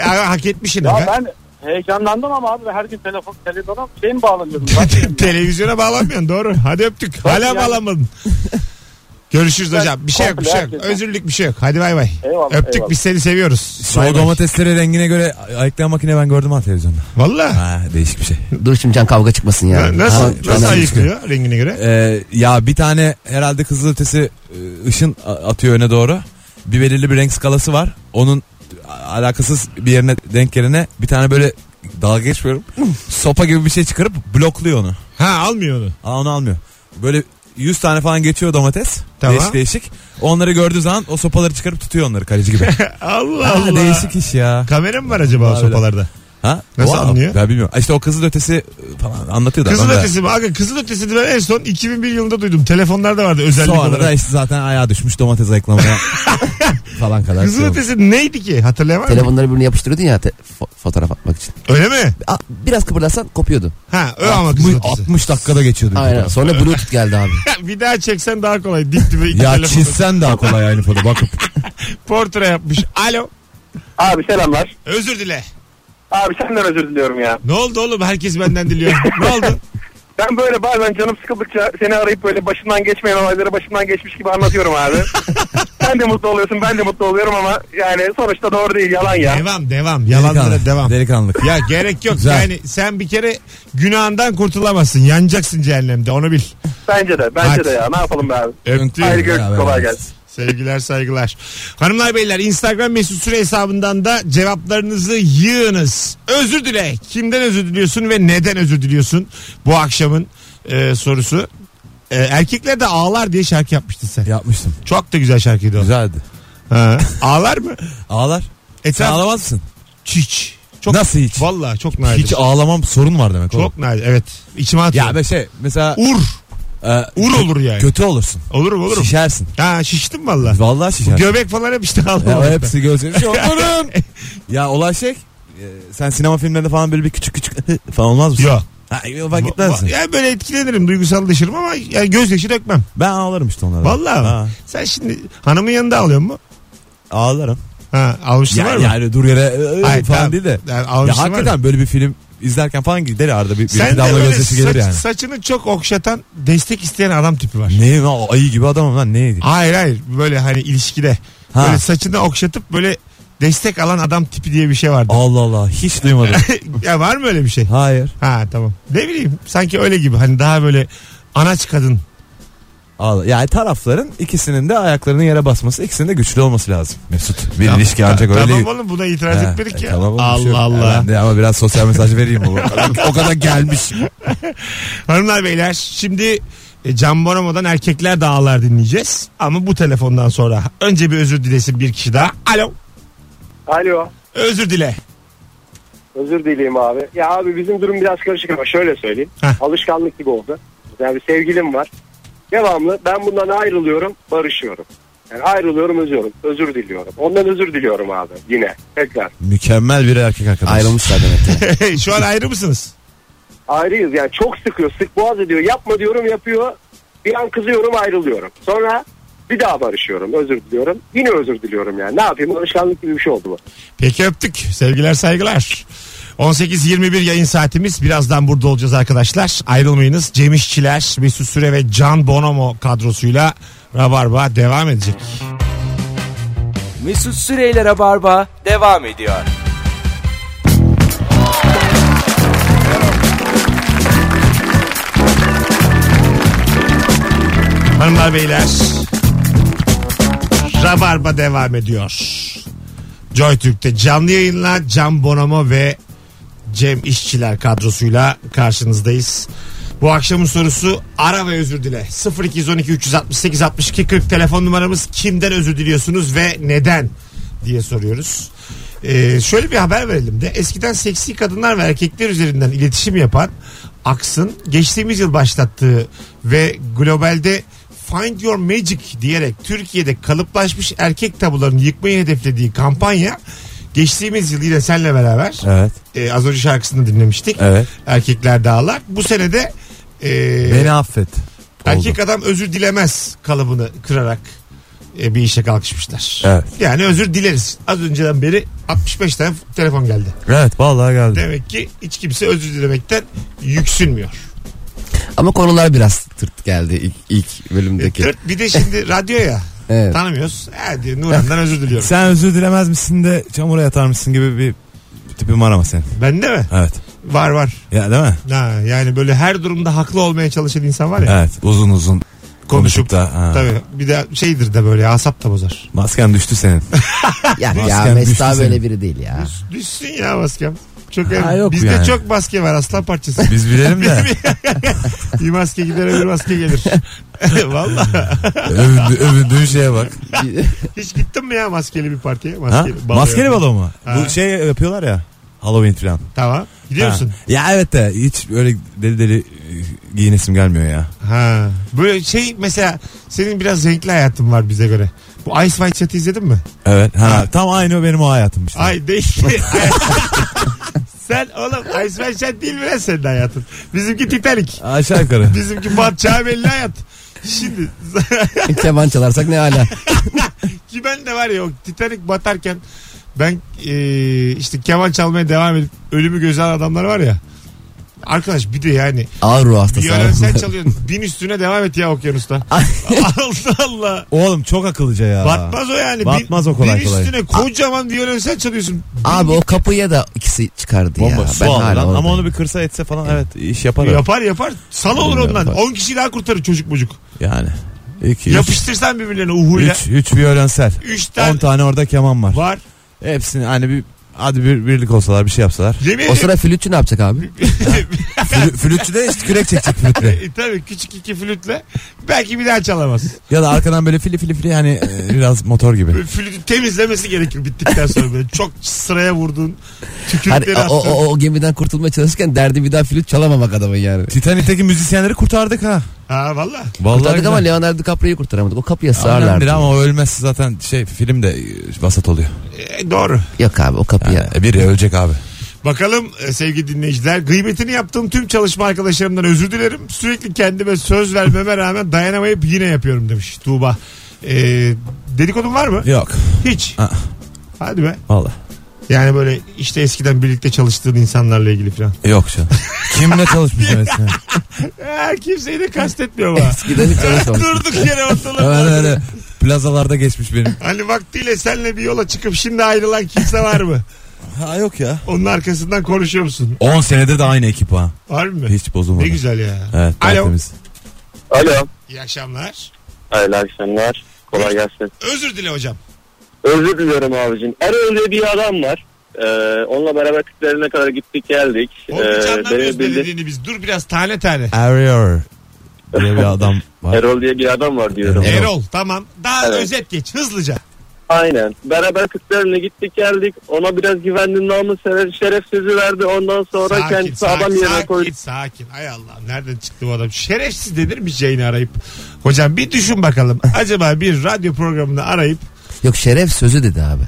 Speaker 2: Ya, hak etmişsin.
Speaker 5: ya
Speaker 2: aga.
Speaker 5: ben heyecanlandım ama abi her gün telefon televizyona şey mi bağlanıyordum?
Speaker 2: Te- Televizyona bağlanmıyorsun doğru. Hadi öptük. Hala
Speaker 5: yani-
Speaker 2: bağlanmadın. Görüşürüz hocam. Bir şey yok bir şey yok.
Speaker 5: Komple herkes-
Speaker 2: Özürlük bir şey yok. Hadi bay bay.
Speaker 5: Eyvallah,
Speaker 2: öptük
Speaker 5: eyvallah.
Speaker 2: biz seni seviyoruz. Bay
Speaker 3: Soğuk
Speaker 2: bay.
Speaker 3: domatesleri rengine göre ay- ayıklayan makine ben gördüm ha televizyonda.
Speaker 2: Valla.
Speaker 3: Ha değişik bir şey.
Speaker 4: Dur şimdi can kavga çıkmasın ya.
Speaker 2: Nasıl,
Speaker 4: Ha,
Speaker 2: nasıl
Speaker 4: önemli.
Speaker 2: ayıklıyor rengine göre?
Speaker 3: Ee, ya bir tane herhalde kızılötesi e, ışın a- atıyor öne doğru. Bir belirli bir renk skalası var. Onun a- alakasız bir yerine denk gelene bir tane böyle dalga geçmiyorum. Sopa gibi bir şey çıkarıp blokluyor onu.
Speaker 2: Ha almıyor onu.
Speaker 3: Aa, onu almıyor. Böyle 100 tane falan geçiyor domates.
Speaker 2: Tamam.
Speaker 3: Değişik değişik. Onları gördüğü zaman o sopaları çıkarıp tutuyor onları kaleci gibi.
Speaker 2: Allah
Speaker 3: Aa,
Speaker 2: Allah.
Speaker 3: değişik iş ya.
Speaker 2: Kamera mı var acaba o
Speaker 3: Vallahi.
Speaker 2: sopalarda?
Speaker 3: Ha?
Speaker 2: Nasıl
Speaker 3: O-
Speaker 2: anlıyor?
Speaker 3: Ben bilmiyorum. İşte o kızıl ötesi e, falan anlatıyor da.
Speaker 2: Kızıl
Speaker 3: adam da-
Speaker 2: ötesi mi? Aga kızıl ötesini ben en son 2001 yılında duydum. Telefonlarda vardı özellik
Speaker 3: Sonra da
Speaker 2: olarak.
Speaker 3: işte zaten ayağa düşmüş domates ayıklamaya falan kadar.
Speaker 2: Kızıl
Speaker 3: şey olmuş.
Speaker 2: ötesi neydi ki? Hatırlayamam.
Speaker 4: Telefonları birbirine yapıştırıyordun ya te- fo- fotoğraf atmak için.
Speaker 2: Öyle mi?
Speaker 4: A- biraz kıpırdarsan kopuyordu.
Speaker 2: Ha öyle şey ama kızıl ötesi.
Speaker 3: 60 dakikada geçiyordu.
Speaker 4: Aynen. Sonra Bluetooth geldi abi.
Speaker 2: bir daha çeksen daha kolay. Dip dibe iki
Speaker 3: Ya
Speaker 2: telefon.
Speaker 3: çizsen daha kolay aynı foto bakıp.
Speaker 2: Portre yapmış. Alo.
Speaker 5: Abi selamlar.
Speaker 2: Özür dile.
Speaker 5: Abi senden özür diliyorum ya.
Speaker 2: Ne oldu oğlum? Herkes benden diliyor. ne oldu?
Speaker 5: Ben böyle bazen canım sıkıldıkça seni arayıp böyle başından geçmeyen olayları başından geçmiş gibi anlatıyorum abi. Sen de mutlu oluyorsun ben de mutlu oluyorum ama yani sonuçta doğru değil yalan ya.
Speaker 2: Devam devam. Yalanlara
Speaker 3: Delikanlı.
Speaker 2: devam.
Speaker 3: Delikanlık.
Speaker 2: Ya gerek yok.
Speaker 3: Güzel.
Speaker 2: Yani sen bir kere günahından kurtulamazsın. Yanacaksın cehennemde onu bil.
Speaker 5: Bence de bence
Speaker 2: Hadi.
Speaker 5: de ya ne yapalım be abi.
Speaker 2: Öptüm.
Speaker 5: Haydi görüşürüz
Speaker 3: Beraber
Speaker 5: kolay
Speaker 3: olmaz.
Speaker 5: gelsin.
Speaker 2: Sevgiler saygılar. Hanımlar beyler Instagram mesut süre hesabından da cevaplarınızı yığınız. Özür dile. Kimden özür diliyorsun ve neden özür diliyorsun? Bu akşamın e, sorusu. E, erkekler de ağlar diye şarkı yapmıştın sen.
Speaker 3: Yapmıştım.
Speaker 2: Çok da güzel şarkıydı o.
Speaker 3: Güzeldi.
Speaker 2: Ha. Ağlar mı?
Speaker 3: Ağlar. Sen
Speaker 2: Etraf
Speaker 3: ağlamaz mısın?
Speaker 2: hiç. Çok,
Speaker 3: Nasıl hiç?
Speaker 2: Vallahi çok nadir.
Speaker 3: Hiç ağlamam sorun var demek. oğlum.
Speaker 2: çok nadir. Evet. İçime atıyor.
Speaker 3: Ya be şey mesela
Speaker 2: Ur.
Speaker 3: e,
Speaker 2: Ur olur yani.
Speaker 3: kötü olursun.
Speaker 2: Olurum olurum.
Speaker 3: Şişersin.
Speaker 2: Ha şiştim valla.
Speaker 3: Vallahi şişersin.
Speaker 2: Göbek falan hep işte
Speaker 3: Ya o
Speaker 2: ağlamadım.
Speaker 3: hepsi gözleri şey olurum. ya olay şey e, sen sinema filmlerinde falan böyle bir küçük küçük falan olmaz mısın?
Speaker 2: Yok.
Speaker 3: Ha, yok, bak gitmezsin.
Speaker 2: Ya böyle etkilenirim, duygusallaşırım ama yani gözyaşı dökmem.
Speaker 3: Ben ağlarım işte onlara.
Speaker 2: Vallahi.
Speaker 3: Ha,
Speaker 2: Sen şimdi hanımın yanında ağlıyor mu?
Speaker 3: ağlarım.
Speaker 2: Ha, almışsın
Speaker 3: Ya,
Speaker 2: var mı?
Speaker 3: yani dur yere e,
Speaker 2: Hayır,
Speaker 3: falan
Speaker 2: tamam.
Speaker 3: değil de.
Speaker 2: Yani
Speaker 3: ya
Speaker 2: almışsın var mı?
Speaker 3: hakikaten böyle bir film izlerken falan gider arada bir, bir
Speaker 2: Sen
Speaker 3: iki
Speaker 2: de
Speaker 3: damla
Speaker 2: böyle
Speaker 3: gözyaşı gelir
Speaker 2: saç-
Speaker 3: yani.
Speaker 2: saçını çok okşatan, destek isteyen adam tipi var.
Speaker 3: Neyim ya, ayı gibi adamım lan neydi?
Speaker 2: Hayır hayır böyle hani ilişkide.
Speaker 3: Ha.
Speaker 2: Böyle saçını okşatıp böyle destek alan adam tipi diye bir şey vardı.
Speaker 3: Allah Allah hiç duymadım.
Speaker 2: ya var mı öyle bir şey?
Speaker 3: Hayır.
Speaker 2: Ha tamam. Ne bileyim sanki öyle gibi hani daha böyle anaç kadın.
Speaker 3: Ağla. Yani tarafların ikisinin de ayaklarının yere basması ikisinin de güçlü olması lazım. Mesut bir ilişki ancak öyle
Speaker 2: Tamam
Speaker 3: değil.
Speaker 2: oğlum buna itiraz
Speaker 3: Ha,
Speaker 2: etmedik
Speaker 3: e,
Speaker 2: ya.
Speaker 3: tamam oğlum, bir şey
Speaker 2: Allah
Speaker 3: yok.
Speaker 2: Allah.
Speaker 3: Ya ben de ama biraz sosyal mesaj vereyim. O kadar, o kadar gelmiş.
Speaker 2: Hanımlar beyler şimdi e, Can Bonomo'dan erkekler dağlar dinleyeceğiz. Ama bu telefondan sonra önce bir özür dilesin bir kişi daha. Alo
Speaker 5: Alo
Speaker 2: özür dile.
Speaker 5: özür dileyim abi. Ya abi bizim durum biraz karışık ama şöyle söyleyeyim.
Speaker 2: Heh.
Speaker 5: Alışkanlık gibi oldu. Yani bir sevgilim var. Devamlı ben bundan ayrılıyorum barışıyorum. Yani ayrılıyorum özüyorum özür diliyorum. Ondan özür diliyorum abi yine tekrar.
Speaker 3: Mükemmel bir erkek arkadaş.
Speaker 4: Ayrılmışlar demek ki.
Speaker 2: Şu an ayrı mısınız?
Speaker 5: ayrıyız yani çok sıkıyor sık boğaz ediyor yapma diyorum yapıyor bir an kızıyorum ayrılıyorum sonra bir daha barışıyorum özür diliyorum yine özür diliyorum yani ne yapayım alışkanlık gibi bir şey oldu bu.
Speaker 2: Peki öptük. Sevgiler saygılar. 18.21 yayın saatimiz. Birazdan burada olacağız arkadaşlar. Ayrılmayınız. Cem İşçiler, Mesut Süre ve Can Bonomo kadrosuyla Rabarba devam edecek.
Speaker 1: Mesut Süreyler'e barba devam ediyor.
Speaker 2: Hanımlar beyler Rabarba devam ediyor. Joy Türk'te canlı yayınla Can Bonomo ve Cem İşçiler kadrosuyla karşınızdayız. Bu akşamın sorusu ara ve özür dile. 0212 368 62 40 telefon numaramız kimden özür diliyorsunuz ve neden diye soruyoruz. Ee, şöyle bir haber verelim de eskiden seksi kadınlar ve erkekler üzerinden iletişim yapan Aks'ın geçtiğimiz yıl başlattığı ve globalde Find Your Magic diyerek Türkiye'de kalıplaşmış erkek tabularını yıkmayı hedeflediği kampanya geçtiğimiz yıl yine senle beraber
Speaker 3: Evet.
Speaker 2: e, az önce şarkısını dinlemiştik.
Speaker 3: Evet.
Speaker 2: Erkekler Dağlar. Bu sene de e,
Speaker 3: Beni affet.
Speaker 2: erkek
Speaker 3: Erkek...
Speaker 2: adam özür dilemez kalıbını kırarak e, bir işe kalkışmışlar.
Speaker 3: Evet.
Speaker 2: Yani özür dileriz. Az önceden beri 65 tane telefon geldi.
Speaker 3: Evet vallahi geldi.
Speaker 2: Demek ki hiç kimse özür dilemekten yüksünmüyor.
Speaker 4: Ama konular biraz tırt geldi ilk, ilk bölümdeki.
Speaker 2: Dört, bir de şimdi radyo ya.
Speaker 4: Evet.
Speaker 2: Tanımıyoruz. Ha diye Nurhan'dan özür diliyorum.
Speaker 3: Sen özür dilemez misin de çamura yatar mısın gibi bir tipim var ama senin.
Speaker 2: Bende mi?
Speaker 3: Evet.
Speaker 2: Var var.
Speaker 3: Ya değil mi?
Speaker 2: Ha, yani böyle her durumda haklı olmaya çalışan insan var ya.
Speaker 3: Evet. Uzun uzun konuşup,
Speaker 2: Konuşup
Speaker 3: da. ha.
Speaker 2: Tabii. Bir de şeydir de böyle asap da bozar.
Speaker 3: Masken düştü senin.
Speaker 4: Ya, ya
Speaker 3: Masken düştü
Speaker 4: Mesut abi
Speaker 3: senin.
Speaker 4: öyle biri değil ya.
Speaker 2: Düşsün ya maskem. Çok
Speaker 3: Ha,
Speaker 2: em-
Speaker 3: yok
Speaker 2: Bizde
Speaker 3: yani.
Speaker 2: çok maske var aslan parçası.
Speaker 3: Biz bilelim de.
Speaker 2: bir maske gider öbür maske gelir. Valla.
Speaker 3: övündü, övündüğün şeye bak.
Speaker 2: Hiç gittin mi ya maskeli bir partiye?
Speaker 3: Ha?
Speaker 2: Maskeli, baloya?
Speaker 3: Maskeli balo mu?
Speaker 2: Ha.
Speaker 3: Bu şey yapıyorlar ya. Halloween falan.
Speaker 2: Tamam. Gidiyor
Speaker 3: Ha.
Speaker 2: musun?
Speaker 3: Ya evet de hiç öyle deli deli e, giyinesim gelmiyor ya.
Speaker 2: Ha. Böyle şey mesela senin biraz renkli hayatın var bize göre. Bu Ice White Chat'i izledin mi?
Speaker 3: Evet. Ha, Tam aynı o benim o hayatım işte.
Speaker 2: Ay değil. sen oğlum Ice White Chat değil mi lan senin hayatın? Bizimki Titanic.
Speaker 3: Aşağı yukarı.
Speaker 2: Bizimki Bat Çağbelli hayat. Şimdi
Speaker 4: Keman çalarsak ne hala.
Speaker 2: ki ben de var ya o Titanic batarken ben e, işte keman çalmaya devam edip ölümü göze alan adamlar var ya. Arkadaş bir de yani
Speaker 4: Ağır ruh hastası. abi.
Speaker 2: Violensel çalıyorsun. Bin üstüne devam et ya okyanusta. Allah Allah.
Speaker 3: Oğlum çok akıllıca ya.
Speaker 2: Batmaz o yani. Bin-
Speaker 3: Batmaz o kolay
Speaker 2: bin
Speaker 3: kolay.
Speaker 2: üstüne kocaman violensel çalıyorsun.
Speaker 4: Abi o kapıya da ikisi çıkardı
Speaker 3: Bomba
Speaker 4: ya.
Speaker 3: su aldı lan.
Speaker 4: oradayım.
Speaker 3: Ama onu bir kırsa etse falan evet iş yapar. o.
Speaker 2: Yapar yapar. Sana olur
Speaker 3: Bilmiyorum,
Speaker 2: ondan.
Speaker 3: yapar.
Speaker 2: 10 kişi daha kurtarır çocuk bucuk.
Speaker 3: Yani. İki, üç,
Speaker 2: Yapıştırsan birbirlerine uhuyla.
Speaker 3: üç, üç violensel.
Speaker 2: 3
Speaker 3: On
Speaker 2: tane
Speaker 3: tane orada keman var.
Speaker 2: var.
Speaker 3: Hepsini hani bir hadi bir birlik olsalar bir şey yapsalar.
Speaker 2: Yemin
Speaker 4: O
Speaker 2: ederim.
Speaker 4: sıra flütçü ne yapacak abi?
Speaker 3: Flü- Flütçü de işte kürek çekecek flütle.
Speaker 2: E, tabii küçük iki flütle belki bir daha çalamaz.
Speaker 3: Ya da arkadan böyle fili fili fili hani e, biraz motor gibi.
Speaker 2: Böyle Flütü temizlemesi gerekir bittikten sonra böyle çok sıraya vurduğun
Speaker 4: Hani
Speaker 2: tükürükleri
Speaker 4: o,
Speaker 2: attığın.
Speaker 4: o, o gemiden kurtulmaya çalışırken derdi bir daha flüt çalamamak adamın yani.
Speaker 3: Titanik'teki müzisyenleri kurtardık ha.
Speaker 2: Ha valla.
Speaker 3: Vallahi
Speaker 4: Kurtardık ama
Speaker 3: güzel.
Speaker 4: Leonardo DiCaprio'yu kurtaramadık. O kapıya
Speaker 3: Önemlidir
Speaker 4: sığarlardı.
Speaker 3: ama o ölmez zaten şey film de e, vasat oluyor.
Speaker 2: E, doğru.
Speaker 4: Yok abi o kapıya.
Speaker 3: Yani e, biri ölecek abi.
Speaker 2: Bakalım e, sevgili dinleyiciler. Gıybetini yaptığım tüm çalışma arkadaşlarımdan özür dilerim. Sürekli kendime söz vermeme rağmen dayanamayıp yine yapıyorum demiş Tuğba. E, dedikodun var mı?
Speaker 3: Yok.
Speaker 2: Hiç.
Speaker 3: Aa.
Speaker 2: Hadi be.
Speaker 3: Vallahi.
Speaker 2: Yani böyle işte eskiden birlikte çalıştığın insanlarla ilgili falan.
Speaker 3: Yok canım. Kimle çalışmışsın eskiden?
Speaker 2: E, kimseyi de kastetmiyor bana.
Speaker 4: Eskiden hiç çalışmamış.
Speaker 2: Durduk yere
Speaker 3: Hemen
Speaker 2: ortalıkta.
Speaker 3: öyle plazalarda geçmiş benim.
Speaker 2: Hani vaktiyle senle bir yola çıkıp şimdi ayrılan kimse var mı?
Speaker 3: Ha yok ya.
Speaker 2: Onun arkasından konuşuyor musun?
Speaker 3: 10 senedir de aynı ekip ha.
Speaker 2: Var mı?
Speaker 3: Hiç bozulmadı.
Speaker 2: ne güzel ya.
Speaker 3: Evet,
Speaker 2: Alo.
Speaker 3: tertemiz.
Speaker 6: Alo.
Speaker 2: İyi akşamlar.
Speaker 6: Hayırlı akşamlar. Kolay gelsin.
Speaker 2: Özür dile hocam.
Speaker 6: Özür diliyorum abicim. Erol diye bir adam var. Ee, onunla beraber Kırklareli'ne kadar gittik geldik. Ee,
Speaker 2: Oğlum hiç anlamıyoruz ne
Speaker 6: bildi-
Speaker 2: dediğini biz. Dur biraz tane tane.
Speaker 3: Arior diye bir adam var.
Speaker 6: Erol diye bir adam var diyorum.
Speaker 3: Erol.
Speaker 2: Erol tamam. Daha
Speaker 6: Evet.
Speaker 2: özet geç hızlıca.
Speaker 6: Aynen. Beraber Kırklareli'ne gittik geldik. Ona biraz güvendim namı sever şeref sözü verdi. Ondan sonra kendisi adam yerine
Speaker 2: sakin,
Speaker 6: koydu.
Speaker 2: sakin. Ay Allah nereden çıktı bu adam? Şerefsiz denir mi yayını arayıp? Hocam bir düşün bakalım. Acaba bir radyo programını arayıp
Speaker 4: Yok şeref sözü dedi abi.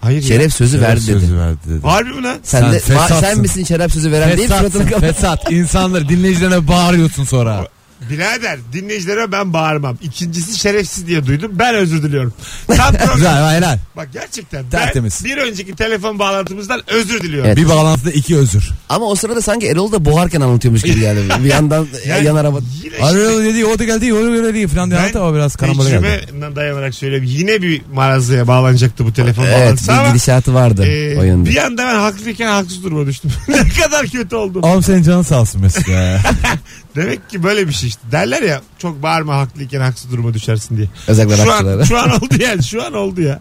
Speaker 2: Hayır ya.
Speaker 4: Şeref sözü verdi dedi.
Speaker 3: Sözü verdi dedi.
Speaker 2: Harbi mi lan?
Speaker 4: Sen,
Speaker 3: Sen
Speaker 4: de,
Speaker 3: fesatsın.
Speaker 4: Va- sen misin şeref sözü veren değil suratını
Speaker 3: Fesatsın,
Speaker 4: kapat.
Speaker 3: fesat. İnsanları dinleyicilerine bağırıyorsun sonra.
Speaker 2: Birader dinleyicilere ben bağırmam. İkincisi şerefsiz diye duydum. Ben özür diliyorum. Tam program-
Speaker 3: Güzel aynen.
Speaker 2: Bak gerçekten ben
Speaker 3: Tertemiz.
Speaker 2: bir önceki telefon bağlantımızdan özür diliyorum.
Speaker 4: Evet.
Speaker 3: Bir bağlantıda iki özür.
Speaker 4: Ama o sırada sanki Erol da boğarken anlatıyormuş gibi geldi. Bir yandan
Speaker 2: Yani
Speaker 4: yan araba.
Speaker 2: Yine işte-
Speaker 3: Arıyor dedi o da geldi o da geldi falan diye
Speaker 2: Ben
Speaker 3: anlattı ama biraz karambole geldi.
Speaker 2: Tecrübemden dayanarak söyleyeyim. Yine bir marazlıya bağlanacaktı bu telefon
Speaker 4: Evet
Speaker 2: bağlantısı
Speaker 4: bir
Speaker 2: ama
Speaker 4: gidişatı vardı
Speaker 2: e,
Speaker 4: o yönde.
Speaker 2: bir anda ben haklıyken haksız duruma düştüm. ne kadar kötü oldum.
Speaker 3: Oğlum senin canın sağ olsun Mesut ya.
Speaker 2: Demek ki böyle bir şey işte. Derler ya çok bağırma haklıyken haksız duruma düşersin diye.
Speaker 4: Özellikle
Speaker 2: Şu an,
Speaker 4: rakçılara.
Speaker 2: şu an oldu yani şu an oldu ya.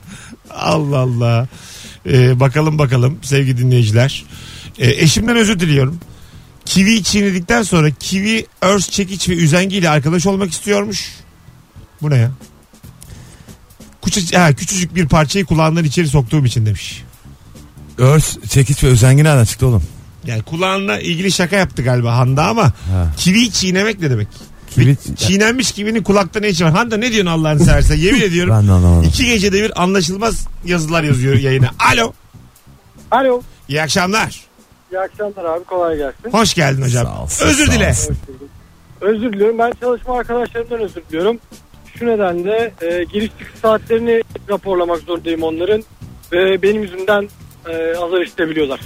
Speaker 2: Allah Allah. E, bakalım bakalım sevgili dinleyiciler. E, eşimden özür diliyorum. Kivi çiğnedikten sonra kivi, örs, çekiç ve üzengi ile arkadaş olmak istiyormuş. Bu ne ya? Küçücük, ha, küçücük bir parçayı kulağından içeri soktuğum için demiş.
Speaker 3: Örs, çekiç ve özengi nereden çıktı oğlum?
Speaker 2: Yani kulağınla ilgili şaka yaptı galiba Handa ama
Speaker 3: Ha.
Speaker 2: kivi çiğnemek ne demek?
Speaker 3: Kivi-
Speaker 2: Bir Çiğnenmiş kivinin kulakta ne işi var? Handa ne diyorsun Allah'ını seversen? Yemin ediyorum.
Speaker 3: Ben de anlamadım.
Speaker 2: iki gecede bir anlaşılmaz yazılar yazıyor yayına. Alo.
Speaker 5: Alo.
Speaker 2: İyi akşamlar.
Speaker 5: İyi akşamlar abi kolay gelsin.
Speaker 2: Hoş geldin hocam.
Speaker 3: Sağ olsun,
Speaker 2: Özür
Speaker 3: sağ
Speaker 2: dile.
Speaker 3: olsun.
Speaker 5: Özür diliyorum. Ben çalışma arkadaşlarımdan özür diliyorum. Şu nedenle e, giriş çıkış saatlerini raporlamak zorundayım onların. Ve benim yüzümden e, azar işitebiliyorlar.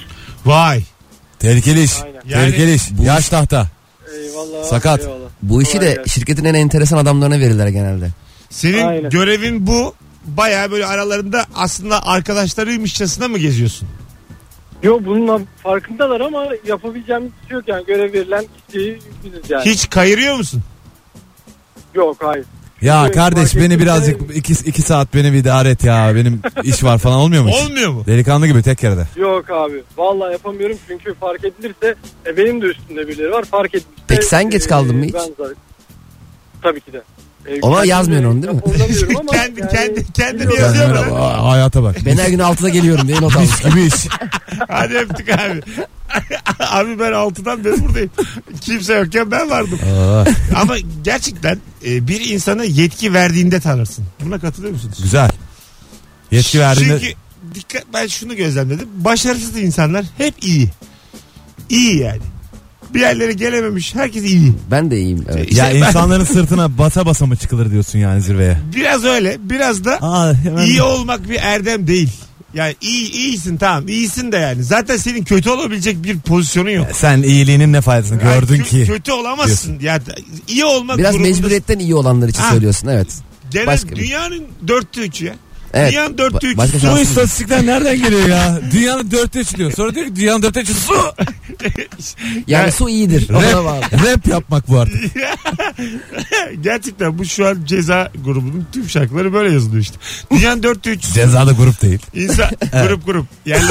Speaker 2: Vay.
Speaker 3: Tehlikeli iş.
Speaker 5: Aynen.
Speaker 2: Yani-
Speaker 3: Tehlikeli iş. Yaş tahta.
Speaker 5: Eyvallah.
Speaker 3: Sakat.
Speaker 5: eyvallah.
Speaker 4: Bu işi
Speaker 5: Kolay
Speaker 4: de
Speaker 5: gelsin.
Speaker 4: şirketin en enteresan adamlarına verirler genelde.
Speaker 2: Senin
Speaker 5: Aynen.
Speaker 2: görevin bu. Baya böyle aralarında aslında arkadaşlarıymışçasına mı geziyorsun?
Speaker 5: Yo bununla farkındalar ama yapabileceğim bir şey yok yani görev verilen kişiyi biziz yani.
Speaker 2: Hiç kayırıyor musun?
Speaker 5: Yok hayır.
Speaker 3: Ya
Speaker 5: Evet,
Speaker 3: kardeş
Speaker 5: fark
Speaker 3: beni
Speaker 5: ettim.
Speaker 3: birazcık iki, iki saat beni bir idare et ya. Benim iş var falan olmuyor mu? hiç?
Speaker 2: Olmuyor mu?
Speaker 3: Delikanlı gibi tek yerde.
Speaker 5: Yok abi. Vallahi yapamıyorum çünkü fark edilirse e, benim de üstümde birileri var fark edilirse.
Speaker 4: Peki sen geç kaldın mı hiç?
Speaker 5: ben zaten- Tabii ki de.
Speaker 4: Ona yazmıyorsun onu değil mi?
Speaker 8: Hatırlamıyorum ama
Speaker 2: kendi
Speaker 8: yani-
Speaker 2: kendi kendini
Speaker 3: Ben
Speaker 2: yazıyor
Speaker 3: merhaba,
Speaker 2: bana.
Speaker 3: aa, hayata bak.
Speaker 4: Ben her gün 6'da geliyorum diye not almış.
Speaker 3: Mis gibi iş.
Speaker 2: Hadi öptük abi. abi ben altıdan beri buradayım. Kimse yokken ben vardım.
Speaker 3: Aa,
Speaker 2: Ama gerçekten e, bir insana yetki verdiğinde tanırsın. Buna katılıyor musunuz?
Speaker 3: güzel. Yetki verdiğinde
Speaker 2: Çünkü dikkat ben şunu gözlemledim. Başarısız insanlar hep iyi. İyi yani. Bir yerlere gelememiş herkes iyi.
Speaker 4: Ben de iyiyim. Evet.
Speaker 3: ya
Speaker 2: İşte şey, ben-
Speaker 3: insanların sırtına basa basa mı çıkılır diyorsun yani zirveye?
Speaker 2: Biraz öyle biraz da
Speaker 3: Aa, hemen-
Speaker 2: iyi olmak bir erdem değil. Yani iyi iyisin tamam iyisin de yani. Zaten senin kötü olabilecek bir pozisyonun yok.
Speaker 3: Sen iyiliğinin ne faydasını gördün
Speaker 2: Yani kö-
Speaker 3: ki?
Speaker 2: Kötü olamazsın. Ya iyi olmak
Speaker 4: Biraz
Speaker 2: durumunda-
Speaker 4: mecburiyetten iyi olanlar için
Speaker 2: Ha.
Speaker 4: söylüyorsun evet.
Speaker 2: Genel
Speaker 4: başka bir-
Speaker 2: dünyanın dörtte üçü ya.
Speaker 4: Evet.
Speaker 2: Dünyanın
Speaker 4: Ba-
Speaker 2: dörtte üçü.
Speaker 4: başka
Speaker 2: su.
Speaker 3: Bu
Speaker 4: şansın-
Speaker 3: istatistikler nereden geliyor ya? Dünyanın dörtte üçü diyor. Sonra diyor ki dünyanın dörtte üçü su.
Speaker 4: Yani
Speaker 2: Yani-
Speaker 4: su iyidir. Ona bağlı.
Speaker 3: Rap, rap yapmak bu artık.
Speaker 2: Gerçekten bu şu an ceza grubunun tüm şarkıları böyle yazılıyor işte. Dünyanın dörtte üçü. su.
Speaker 3: Cezada grup değil.
Speaker 2: İnsan grup grup. Yerli,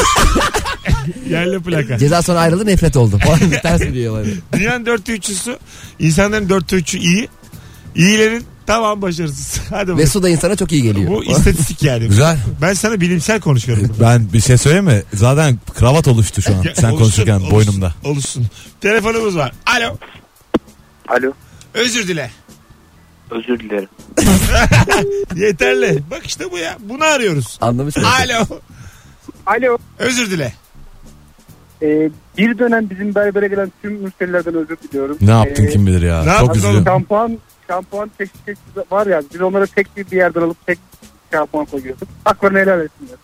Speaker 2: yerli plaka.
Speaker 4: Ceza sonra ayrıldı nefret oldu. Falan bir ters bir olay.
Speaker 2: Dünyanın dörtte üçüsü. insanların dörtte üçü iyi. İyilerin tamam başarısız. Hadi
Speaker 4: Ve
Speaker 2: bakalım.
Speaker 4: su da insana çok iyi geliyor.
Speaker 2: Bu istatistik yani.
Speaker 3: Güzel.
Speaker 2: Ben sana bilimsel konuşuyorum.
Speaker 3: Ben bir şey söyleyeyim mi? Zaten kravat oluştu şu
Speaker 2: Ya,
Speaker 3: an. Sen
Speaker 2: oluşsun,
Speaker 3: konuşurken
Speaker 2: oluşsun,
Speaker 3: boynumda.
Speaker 2: Oluşsun. Telefonumuz var. Alo.
Speaker 5: Alo.
Speaker 2: Özür dile.
Speaker 5: Özür dilerim.
Speaker 2: Yeterli. Bak işte bu ya. Bunu arıyoruz.
Speaker 4: Anlamış mısın?
Speaker 2: Alo.
Speaker 5: Alo.
Speaker 2: Özür dile.
Speaker 5: Ee, bir dönem bizim berbere gelen tüm müşterilerden özür diliyorum.
Speaker 3: Ne yaptın
Speaker 5: Ee,
Speaker 3: kim bilir
Speaker 2: ne
Speaker 3: ya.
Speaker 2: yaptın
Speaker 3: Çok üzülüyorum.
Speaker 5: Şampuan, şampuan tek tek var ya biz onlara tek bir, bir yerden alıp tek şampuan koyuyorduk. Haklarını helal etsinler.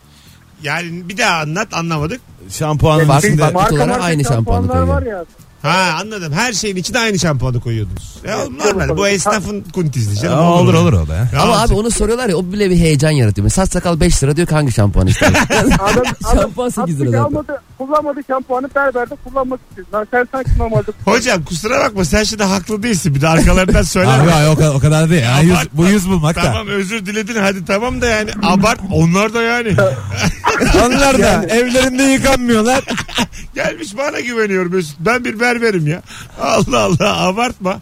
Speaker 2: Yani bir daha anlat anlamadık.
Speaker 3: Şampuanın
Speaker 4: Ben-
Speaker 3: içinde
Speaker 4: Marka kutulara aynı şampuanı
Speaker 5: şampuanlar var
Speaker 4: koyuyor.
Speaker 5: ya.
Speaker 2: Ha anladım. Her şeyin içine aynı şampuanı koyuyordunuz. Ya normal. Bu esnafın kuntizli canım.
Speaker 3: Aa, olur olur o da ya.
Speaker 2: Ya
Speaker 4: Ama
Speaker 2: olacak.
Speaker 4: abi onu soruyorlar ya o bile bir heyecan yaratıyor. Mesela saç sakal 5 lira diyor ki hangi şampuan istiyorsun?
Speaker 5: Adam, adam
Speaker 4: şampuan 8 lira
Speaker 5: hakkıyla
Speaker 4: zaten.
Speaker 5: almadı, kullanmadı şampuanı berberde kullanmak istiyor. Lan sen sanki normalde
Speaker 2: Hocam kusura bakma sen şimdi haklı değilsin. Bir de arkalarından söyle.
Speaker 3: Abi ay, o, kadar, o kadar değil. Ya, yüz,
Speaker 2: Abartma.
Speaker 3: bu yüz bulmak da.
Speaker 2: Tamam özür diledin hadi tamam da yani abart onlar da yani
Speaker 3: Onlar da evlerinde yıkanmıyorlar.
Speaker 2: gelmiş bana güveniyor Mesut ben bir berberim ya Allah Allah abartma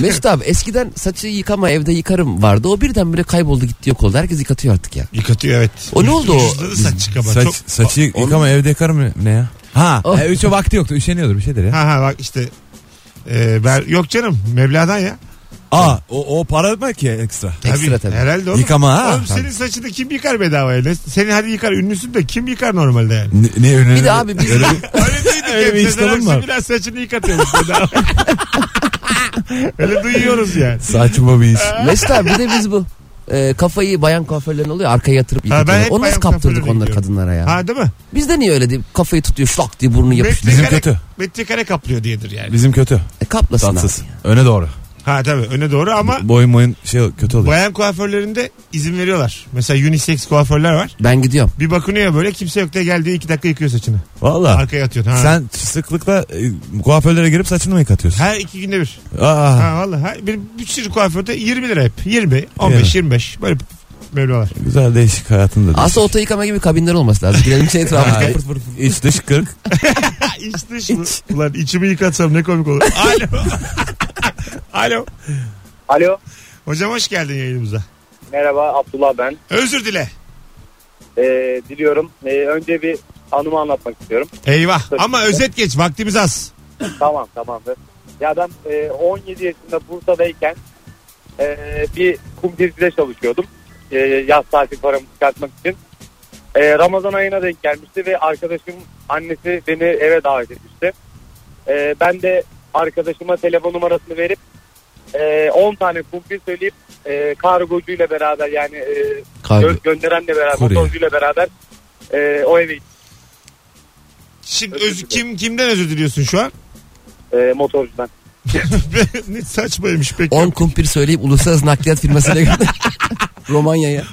Speaker 4: Mesut abi eskiden saçı yıkama evde yıkarım vardı. O birdenbire kayboldu gitti yok oldu. Herkes yıkatıyor artık ya.
Speaker 2: yıkatıyor evet
Speaker 4: O ne oldu o?
Speaker 2: Ucuzladı saç çıkama
Speaker 3: Saç,
Speaker 2: çok
Speaker 3: saçı yıkama evde yıkar mı? Ne ya? Ha,
Speaker 4: Oh.
Speaker 3: e, üçe vakti yoktu. Üşeniyordur bir şeydir ya.
Speaker 2: ha ha bak işte Ee, ben yok canım Mevla'dan ya
Speaker 3: Aa, o, o para mı ki ekstra?
Speaker 4: Ekstra tabii.
Speaker 2: herhalde oğlum.
Speaker 3: Yıkama ha.
Speaker 2: Oğlum senin saçını kim yıkar bedavaya Ne- senin hadi yıkar ünlüsün de kim yıkar normalde yani
Speaker 3: Ne, ne ünlü?
Speaker 4: Bir de abi biz
Speaker 2: Öyle değildi.
Speaker 3: Öyle bir
Speaker 2: Hep
Speaker 3: işlemin
Speaker 2: Sezen Aksu
Speaker 3: var.
Speaker 2: biraz saçını yıkatıyormuş bedava Öyle duyuyoruz yani
Speaker 3: Saçma bir iş.
Speaker 4: Mesut abi bir de biz bu e, kafayı bayan kuaförlerin oluyor arkaya yatırıp
Speaker 2: ben
Speaker 4: yıkatıyorlar.
Speaker 2: hep
Speaker 4: Onu
Speaker 2: bayan
Speaker 4: nasıl kaptırdık
Speaker 2: kuaförlerine
Speaker 4: onları
Speaker 2: gidiyorum.
Speaker 4: kadınlara ya?
Speaker 2: Ha değil mi?
Speaker 4: Bizde niye öyle değil? Kafayı tutuyor şlak diye burnu yapıştırıyor.
Speaker 3: Bizim
Speaker 2: Metrekare-
Speaker 3: kötü.
Speaker 2: Metrekare kaplıyor diyedir yani.
Speaker 3: Bizim kötü.
Speaker 4: E, kaplasın
Speaker 3: Tatsız.
Speaker 4: abi.
Speaker 3: Öne doğru.
Speaker 2: Ha tabii öne doğru ama
Speaker 3: Boyun boyun şey kötü oluyor.
Speaker 2: bayan kuaförlerinde izin veriyorlar. Mesela unisex kuaförler var.
Speaker 4: Ben gidiyorum.
Speaker 2: Bir bakınıyor böyle kimse yok diye geldiği iki dakika yıkıyor saçını.
Speaker 3: Valla.
Speaker 2: Arkaya atıyorsun. Ha.
Speaker 3: Ah. Sen sıklıkla e, kuaförlere girip saçını mı yıkatıyorsun?
Speaker 2: Her iki günde bir.
Speaker 3: Aa,
Speaker 2: Ha valla. Ha, bir, bir sürü kuaförde 20 lira hep. 20, 15, 25. Böyle mevlalar.
Speaker 3: güzel değişik hayatında. değişik.
Speaker 4: Aslında oto yıkama gibi kabinler olması lazım. Girelim şey
Speaker 3: Ha,
Speaker 4: etrafında.
Speaker 3: İç dış kırk.
Speaker 2: Ha, iç dış mı? Ulan içimi yıkatsam ne komik olur. Alo. Alo.
Speaker 5: Alo.
Speaker 2: Hocam hoş geldin yayınımıza.
Speaker 5: Merhaba Abdullah ben.
Speaker 2: Özür dile.
Speaker 5: Ee, diliyorum. Ee, önce bir anımı anlatmak istiyorum.
Speaker 2: Eyvah. Ama özet geç. Vaktimiz az.
Speaker 5: Tamam tamamdır. Ya ben e, 17 yaşında Bursa'dayken e, bir kumdircide çalışıyordum. E, yaz tatil paramı çıkartmak için. E, Ramazan ayına denk gelmişti ve arkadaşım annesi beni eve davet etmişti. E, ben de arkadaşıma telefon numarasını verip e, 10 tane kumpir söyleyip e, kargocuyla beraber yani e,
Speaker 4: Kargo.
Speaker 5: gö- gönderenle beraber,
Speaker 3: Kurye.
Speaker 5: motorcuyla beraber e, o eve gittim.
Speaker 2: Şimdi
Speaker 5: Özür
Speaker 2: öz,
Speaker 5: dilerim.
Speaker 2: kim kimden özür diliyorsun şu an?
Speaker 5: E, motorcudan.
Speaker 2: ne saçmaymış peki.
Speaker 4: 10 kumpir söyleyip uluslararası nakliyat firmasına gönder. Romanya'ya.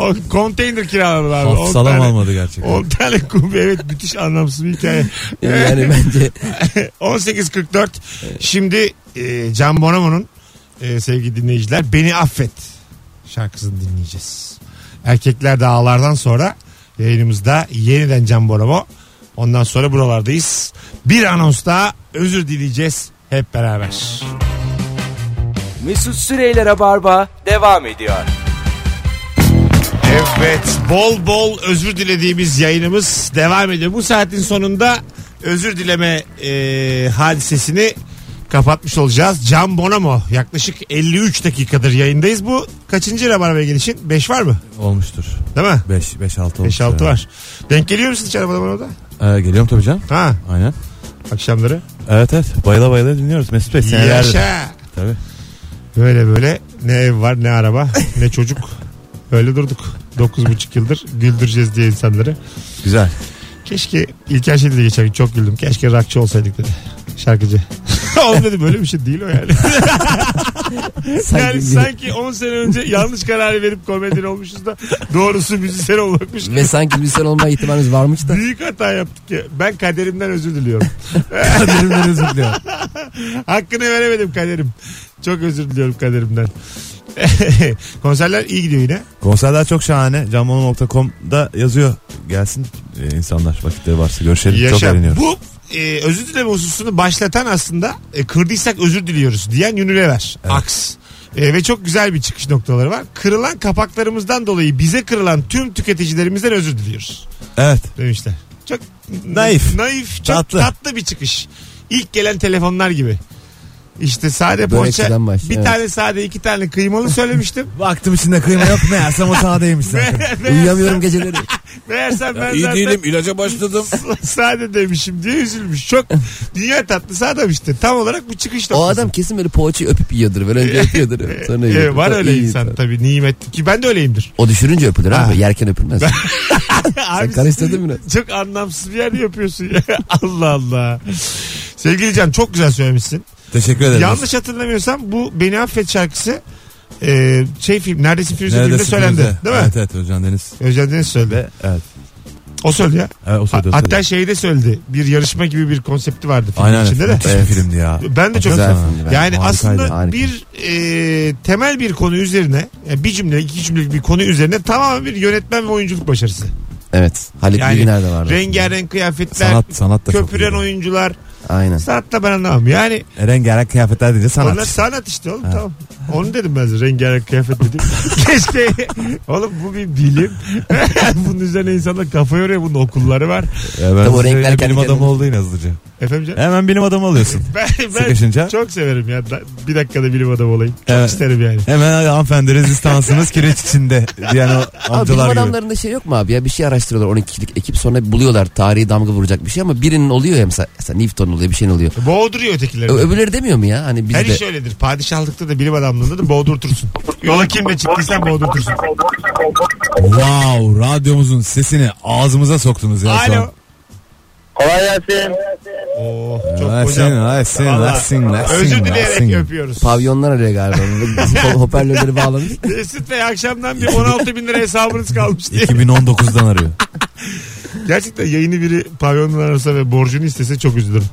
Speaker 2: O konteyner kiraladı abi.
Speaker 3: Of,
Speaker 2: On
Speaker 3: salam
Speaker 2: tane-
Speaker 3: almadı gerçekten.
Speaker 2: 10 tane kumbi evet müthiş anlamsız bir hikaye.
Speaker 4: Yani, yani bence
Speaker 2: 18.44 şimdi e, Can Bonomo'nun e, sevgili dinleyiciler Beni Affet şarkısını dinleyeceğiz. Erkekler Dağlar'dan sonra yayınımızda yeniden Can Bonomo. Ondan sonra buralardayız. Bir anons daha özür dileyeceğiz hep beraber.
Speaker 1: Mesut Süreyler'e barba devam ediyor.
Speaker 2: Evet bol bol özür dilediğimiz yayınımız devam ediyor. Bu saatin sonunda özür dileme e, hadisesini kapatmış olacağız. Can Bonomo yaklaşık 53 dakikadır yayındayız. Bu kaçıncı Rabarba gelişin? 5 var mı?
Speaker 3: Olmuştur.
Speaker 2: Değil mi?
Speaker 3: 5 5 6 olmuş.
Speaker 2: 5-6 var. Denk geliyor musun hiç arabada bana da?
Speaker 3: Ee, geliyorum tabii canım.
Speaker 2: Ha
Speaker 3: Aynen.
Speaker 2: akşamları.
Speaker 3: Evet evet. Bayıla bayıla dinliyoruz Mesut Bey senelerdir.
Speaker 2: Yaşa.
Speaker 3: Tabii.
Speaker 2: Böyle böyle ne ev var ne araba ne çocuk. Böyle durduk. 9,5 yıldır güldüreceğiz diye insanları.
Speaker 3: Güzel.
Speaker 2: Keşke İlker Şen'i de geçen gün çok güldüm. Keşke rakçı olsaydık dedi. Şarkıcı. Oğlum dedim böyle bir şey değil o yani. yani sanki 10 sene önce yanlış kararı verip komedyen olmuşuz da doğrusu müzisyen olmakmış.
Speaker 4: Ve sanki müzisyen olma ihtimalimiz varmış da.
Speaker 2: Büyük hata yaptık ya. Ben kaderimden özür diliyorum.
Speaker 3: Kadrimden özür diliyorum.
Speaker 2: Hakkını veremedim kaderim. Çok özür diliyorum kaderimden. Konserler iyi gidiyor yine.
Speaker 3: Konserler çok şahane. Canmono.com'da yazıyor. Gelsin e, insanlar vakitleri varsa görüşelim. Çok
Speaker 2: Yaşa.
Speaker 3: eğleniyorum.
Speaker 2: Bu e, özür dileme hususunu başlatan aslında e, kırdıysak özür diliyoruz diyen Unilever. Aks. E, ve çok güzel bir çıkış noktaları var. Kırılan kapaklarımızdan dolayı bize kırılan tüm tüketicilerimizden özür diliyoruz
Speaker 3: Evet.
Speaker 2: demişler. Çok
Speaker 3: Naif.
Speaker 2: Naif. Çok tatlı,
Speaker 3: Tatlı.
Speaker 2: bir çıkış. İlk gelen telefonlar gibi. İşte sade
Speaker 4: Börekçiden
Speaker 2: poğaça.
Speaker 4: başlıyor,
Speaker 2: Bir
Speaker 4: evet.
Speaker 2: tane sade iki tane kıymalı söylemiştim.
Speaker 3: Baktım içinde kıyma yok ne yersem o sağdaymış zaten.
Speaker 4: Uyuyamıyorum geceleri.
Speaker 2: Meğersem ben
Speaker 8: İyi
Speaker 2: zaten
Speaker 8: değilim ilaca başladım.
Speaker 2: sade demişim diye üzülmüş. Çok dünya tatlısı adam işte. Tam olarak bu çıkış
Speaker 4: O
Speaker 2: noktası.
Speaker 4: adam kesin böyle poğaçayı öpüp yiyordur. Böyle önce öpüyordur. Sonra
Speaker 2: Ee,
Speaker 4: yiyordur.
Speaker 2: var
Speaker 4: Tabii
Speaker 2: öyle
Speaker 4: iyi,
Speaker 2: insan Ah.
Speaker 4: tabii.
Speaker 2: tabii nimet ki ben de öyleyimdir.
Speaker 4: O düşürünce öpülür abi. Yerken öpülmez.
Speaker 2: Abi,
Speaker 4: karıştırdın biraz.
Speaker 2: Çok anlamsız bir yerde yapıyorsun ya. Allah Allah. Sevgili Can çok güzel söylemişsin.
Speaker 3: Teşekkür ederim.
Speaker 2: Yanlış hatırlamıyorsam bu Beni Affet şarkısı e, şey film Neredesin Firuze filmde
Speaker 3: Neredesin
Speaker 2: söylendi.
Speaker 3: Firuze?
Speaker 2: Değil mi?
Speaker 3: Evet evet Özcan Deniz.
Speaker 2: Özcan Deniz söyledi.
Speaker 3: Ve evet.
Speaker 2: O söyledi ya.
Speaker 3: evet o söyledi. o
Speaker 2: Hatta
Speaker 3: söyledi.
Speaker 2: şeyde söyledi. Bir yarışma gibi bir konsepti vardı filmin
Speaker 3: Aynen.
Speaker 2: içinde de.
Speaker 3: Müthiş bir filmdi ya.
Speaker 2: Ben de çok
Speaker 3: Güzel
Speaker 2: severim.
Speaker 3: filmdi.
Speaker 2: Yani
Speaker 3: Harikaydı.
Speaker 2: aslında
Speaker 4: harika.
Speaker 2: bir e, temel bir konu üzerine yani bir cümle iki cümlelik bir konu üzerine tamamen bir yönetmen ve oyunculuk başarısı.
Speaker 4: Evet. Halit
Speaker 2: Yani
Speaker 4: Bilginer de vardı.
Speaker 2: Rengarenk kıyafetler,
Speaker 3: Sanat, sanat da çok
Speaker 2: köpüren
Speaker 3: iyiydi.
Speaker 2: oyuncular.
Speaker 4: Aynen.
Speaker 2: Sanatta ben anlamam. Yani
Speaker 3: E, Rengarenk kıyafetler deyince sanat.
Speaker 2: onlar sanat işte oğlum tamam. Onu dedim ben size rengarenk kıyafet dedim. Keşke oğlum bu bir bilim. Bunun üzerine insanlar kafa yoruyor. Bunun okulları var.
Speaker 3: Ya E, ben
Speaker 4: Tabii o
Speaker 3: size
Speaker 4: renkler
Speaker 3: bilim
Speaker 4: kendi
Speaker 3: adamı
Speaker 4: kendine-
Speaker 3: oldu yine hızlıca.
Speaker 2: Efendim canım?
Speaker 3: Hemen bilim adamı oluyorsun.
Speaker 2: Ben, ben
Speaker 3: Sıkışınca?
Speaker 2: çok severim ya. Da- Bir dakikada bilim adamı olayım. Çok
Speaker 3: Evet.
Speaker 2: isterim yani.
Speaker 3: Hemen hanımefendi rezistansınız kireç içinde. Yani o
Speaker 4: Ama bilim
Speaker 3: amcalar gibi.
Speaker 4: adamlarında şey yok mu abi ya bir şey araştırıyorlar 12 kişilik ekip sonra buluyorlar tarihi damga vuracak bir şey ama birinin oluyor ya mesela, mesela Newton oluyor bir şeyin oluyor.
Speaker 2: Boğduruyor ötekileri.
Speaker 4: Ö- öbürleri demiyor mu ya hani biz
Speaker 2: Her
Speaker 4: de
Speaker 2: iş öyledir. Padişahlıkta da bilim adamlığında da boğdurtursun. Yola kimle çıktıysan boğdurtursun.
Speaker 3: Wow radyomuzun sesini ağzımıza soktunuz ya şu an.
Speaker 2: Alo.
Speaker 6: Kolay gelsin.
Speaker 2: Oo, Oh, çok
Speaker 3: Ay
Speaker 2: hocam.
Speaker 3: sen, ay sen,
Speaker 2: Vallahi.
Speaker 3: ay sen, ay sen,
Speaker 2: Özür
Speaker 3: ay
Speaker 2: dileyerek
Speaker 3: sen.
Speaker 2: öpüyoruz.
Speaker 4: pavyonlar arıyor galiba. Ho- Hoparlörleri bağlamış.
Speaker 2: Mesut Bey akşamdan bir 16 bin lira hesabınız kalmış diye.
Speaker 3: 2019'dan arıyor.
Speaker 2: Gerçekten yayını biri pavyondan arasa ve borcunu istese çok üzülürüm.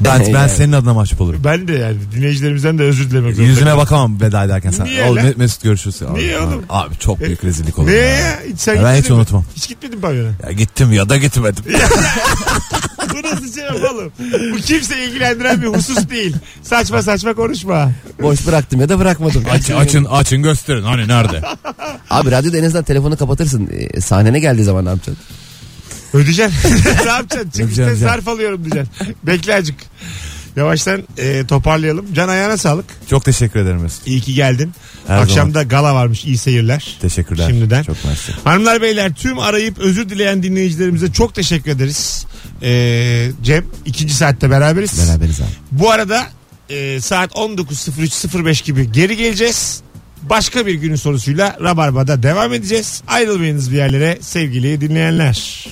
Speaker 3: Ben, ben
Speaker 4: Yani.
Speaker 3: senin adına mahcup olurum.
Speaker 2: Ben de yani dinleyicilerimizden de özür dilemek zorundayım.
Speaker 3: Yüzüne bakamam veda ederken sen.
Speaker 2: Niye
Speaker 3: Oğlum
Speaker 2: lan?
Speaker 3: Mes- Mesut görüşürüz. Abi,
Speaker 2: Niye oğlum? E,
Speaker 3: Abi çok büyük rezillik olur.
Speaker 2: Ne
Speaker 3: ya.
Speaker 2: ya? Hiç sen
Speaker 3: Ya ben hiç
Speaker 2: gitmedin mi?
Speaker 3: unutmam.
Speaker 2: Hiç gitmedin pavyona.
Speaker 3: Ya gittim ya da gitmedim.
Speaker 2: Bu nasıl şey oğlum? Bu kimseyi ilgilendiren bir husus değil. Saçma saçma konuşma.
Speaker 4: Boş bıraktım ya da bırakmadım.
Speaker 3: Aç, açın açın gösterin hani nerede?
Speaker 4: Abi radyoda en azından telefonu kapatırsın. Ee, sahnene geldiği zaman ne yapacaksın?
Speaker 2: Ödeyeceksin. ne yapacaksın? Çıkışta
Speaker 3: Ödeyeceğim,
Speaker 2: zarf alıyorum diyeceksin. Bekle acık. Yavaştan e, toparlayalım. Can ayağına sağlık.
Speaker 3: Çok teşekkür ederim Mesut.
Speaker 2: İyi ki geldin.
Speaker 3: Her
Speaker 2: Akşamda gala varmış. İyi seyirler.
Speaker 3: Teşekkürler.
Speaker 2: Şimdiden.
Speaker 3: Çok mersi.
Speaker 2: Hanımlar beyler tüm arayıp özür dileyen dinleyicilerimize çok teşekkür ederiz. Ee, Cem ikinci saatte beraberiz.
Speaker 4: Beraberiz abi.
Speaker 2: Bu arada e, saat 19.03.05 gibi geri geleceğiz. Başka bir günün sorusuyla Rabarba'da devam edeceğiz. Ayrılmayınız bir yerlere sevgili dinleyenler.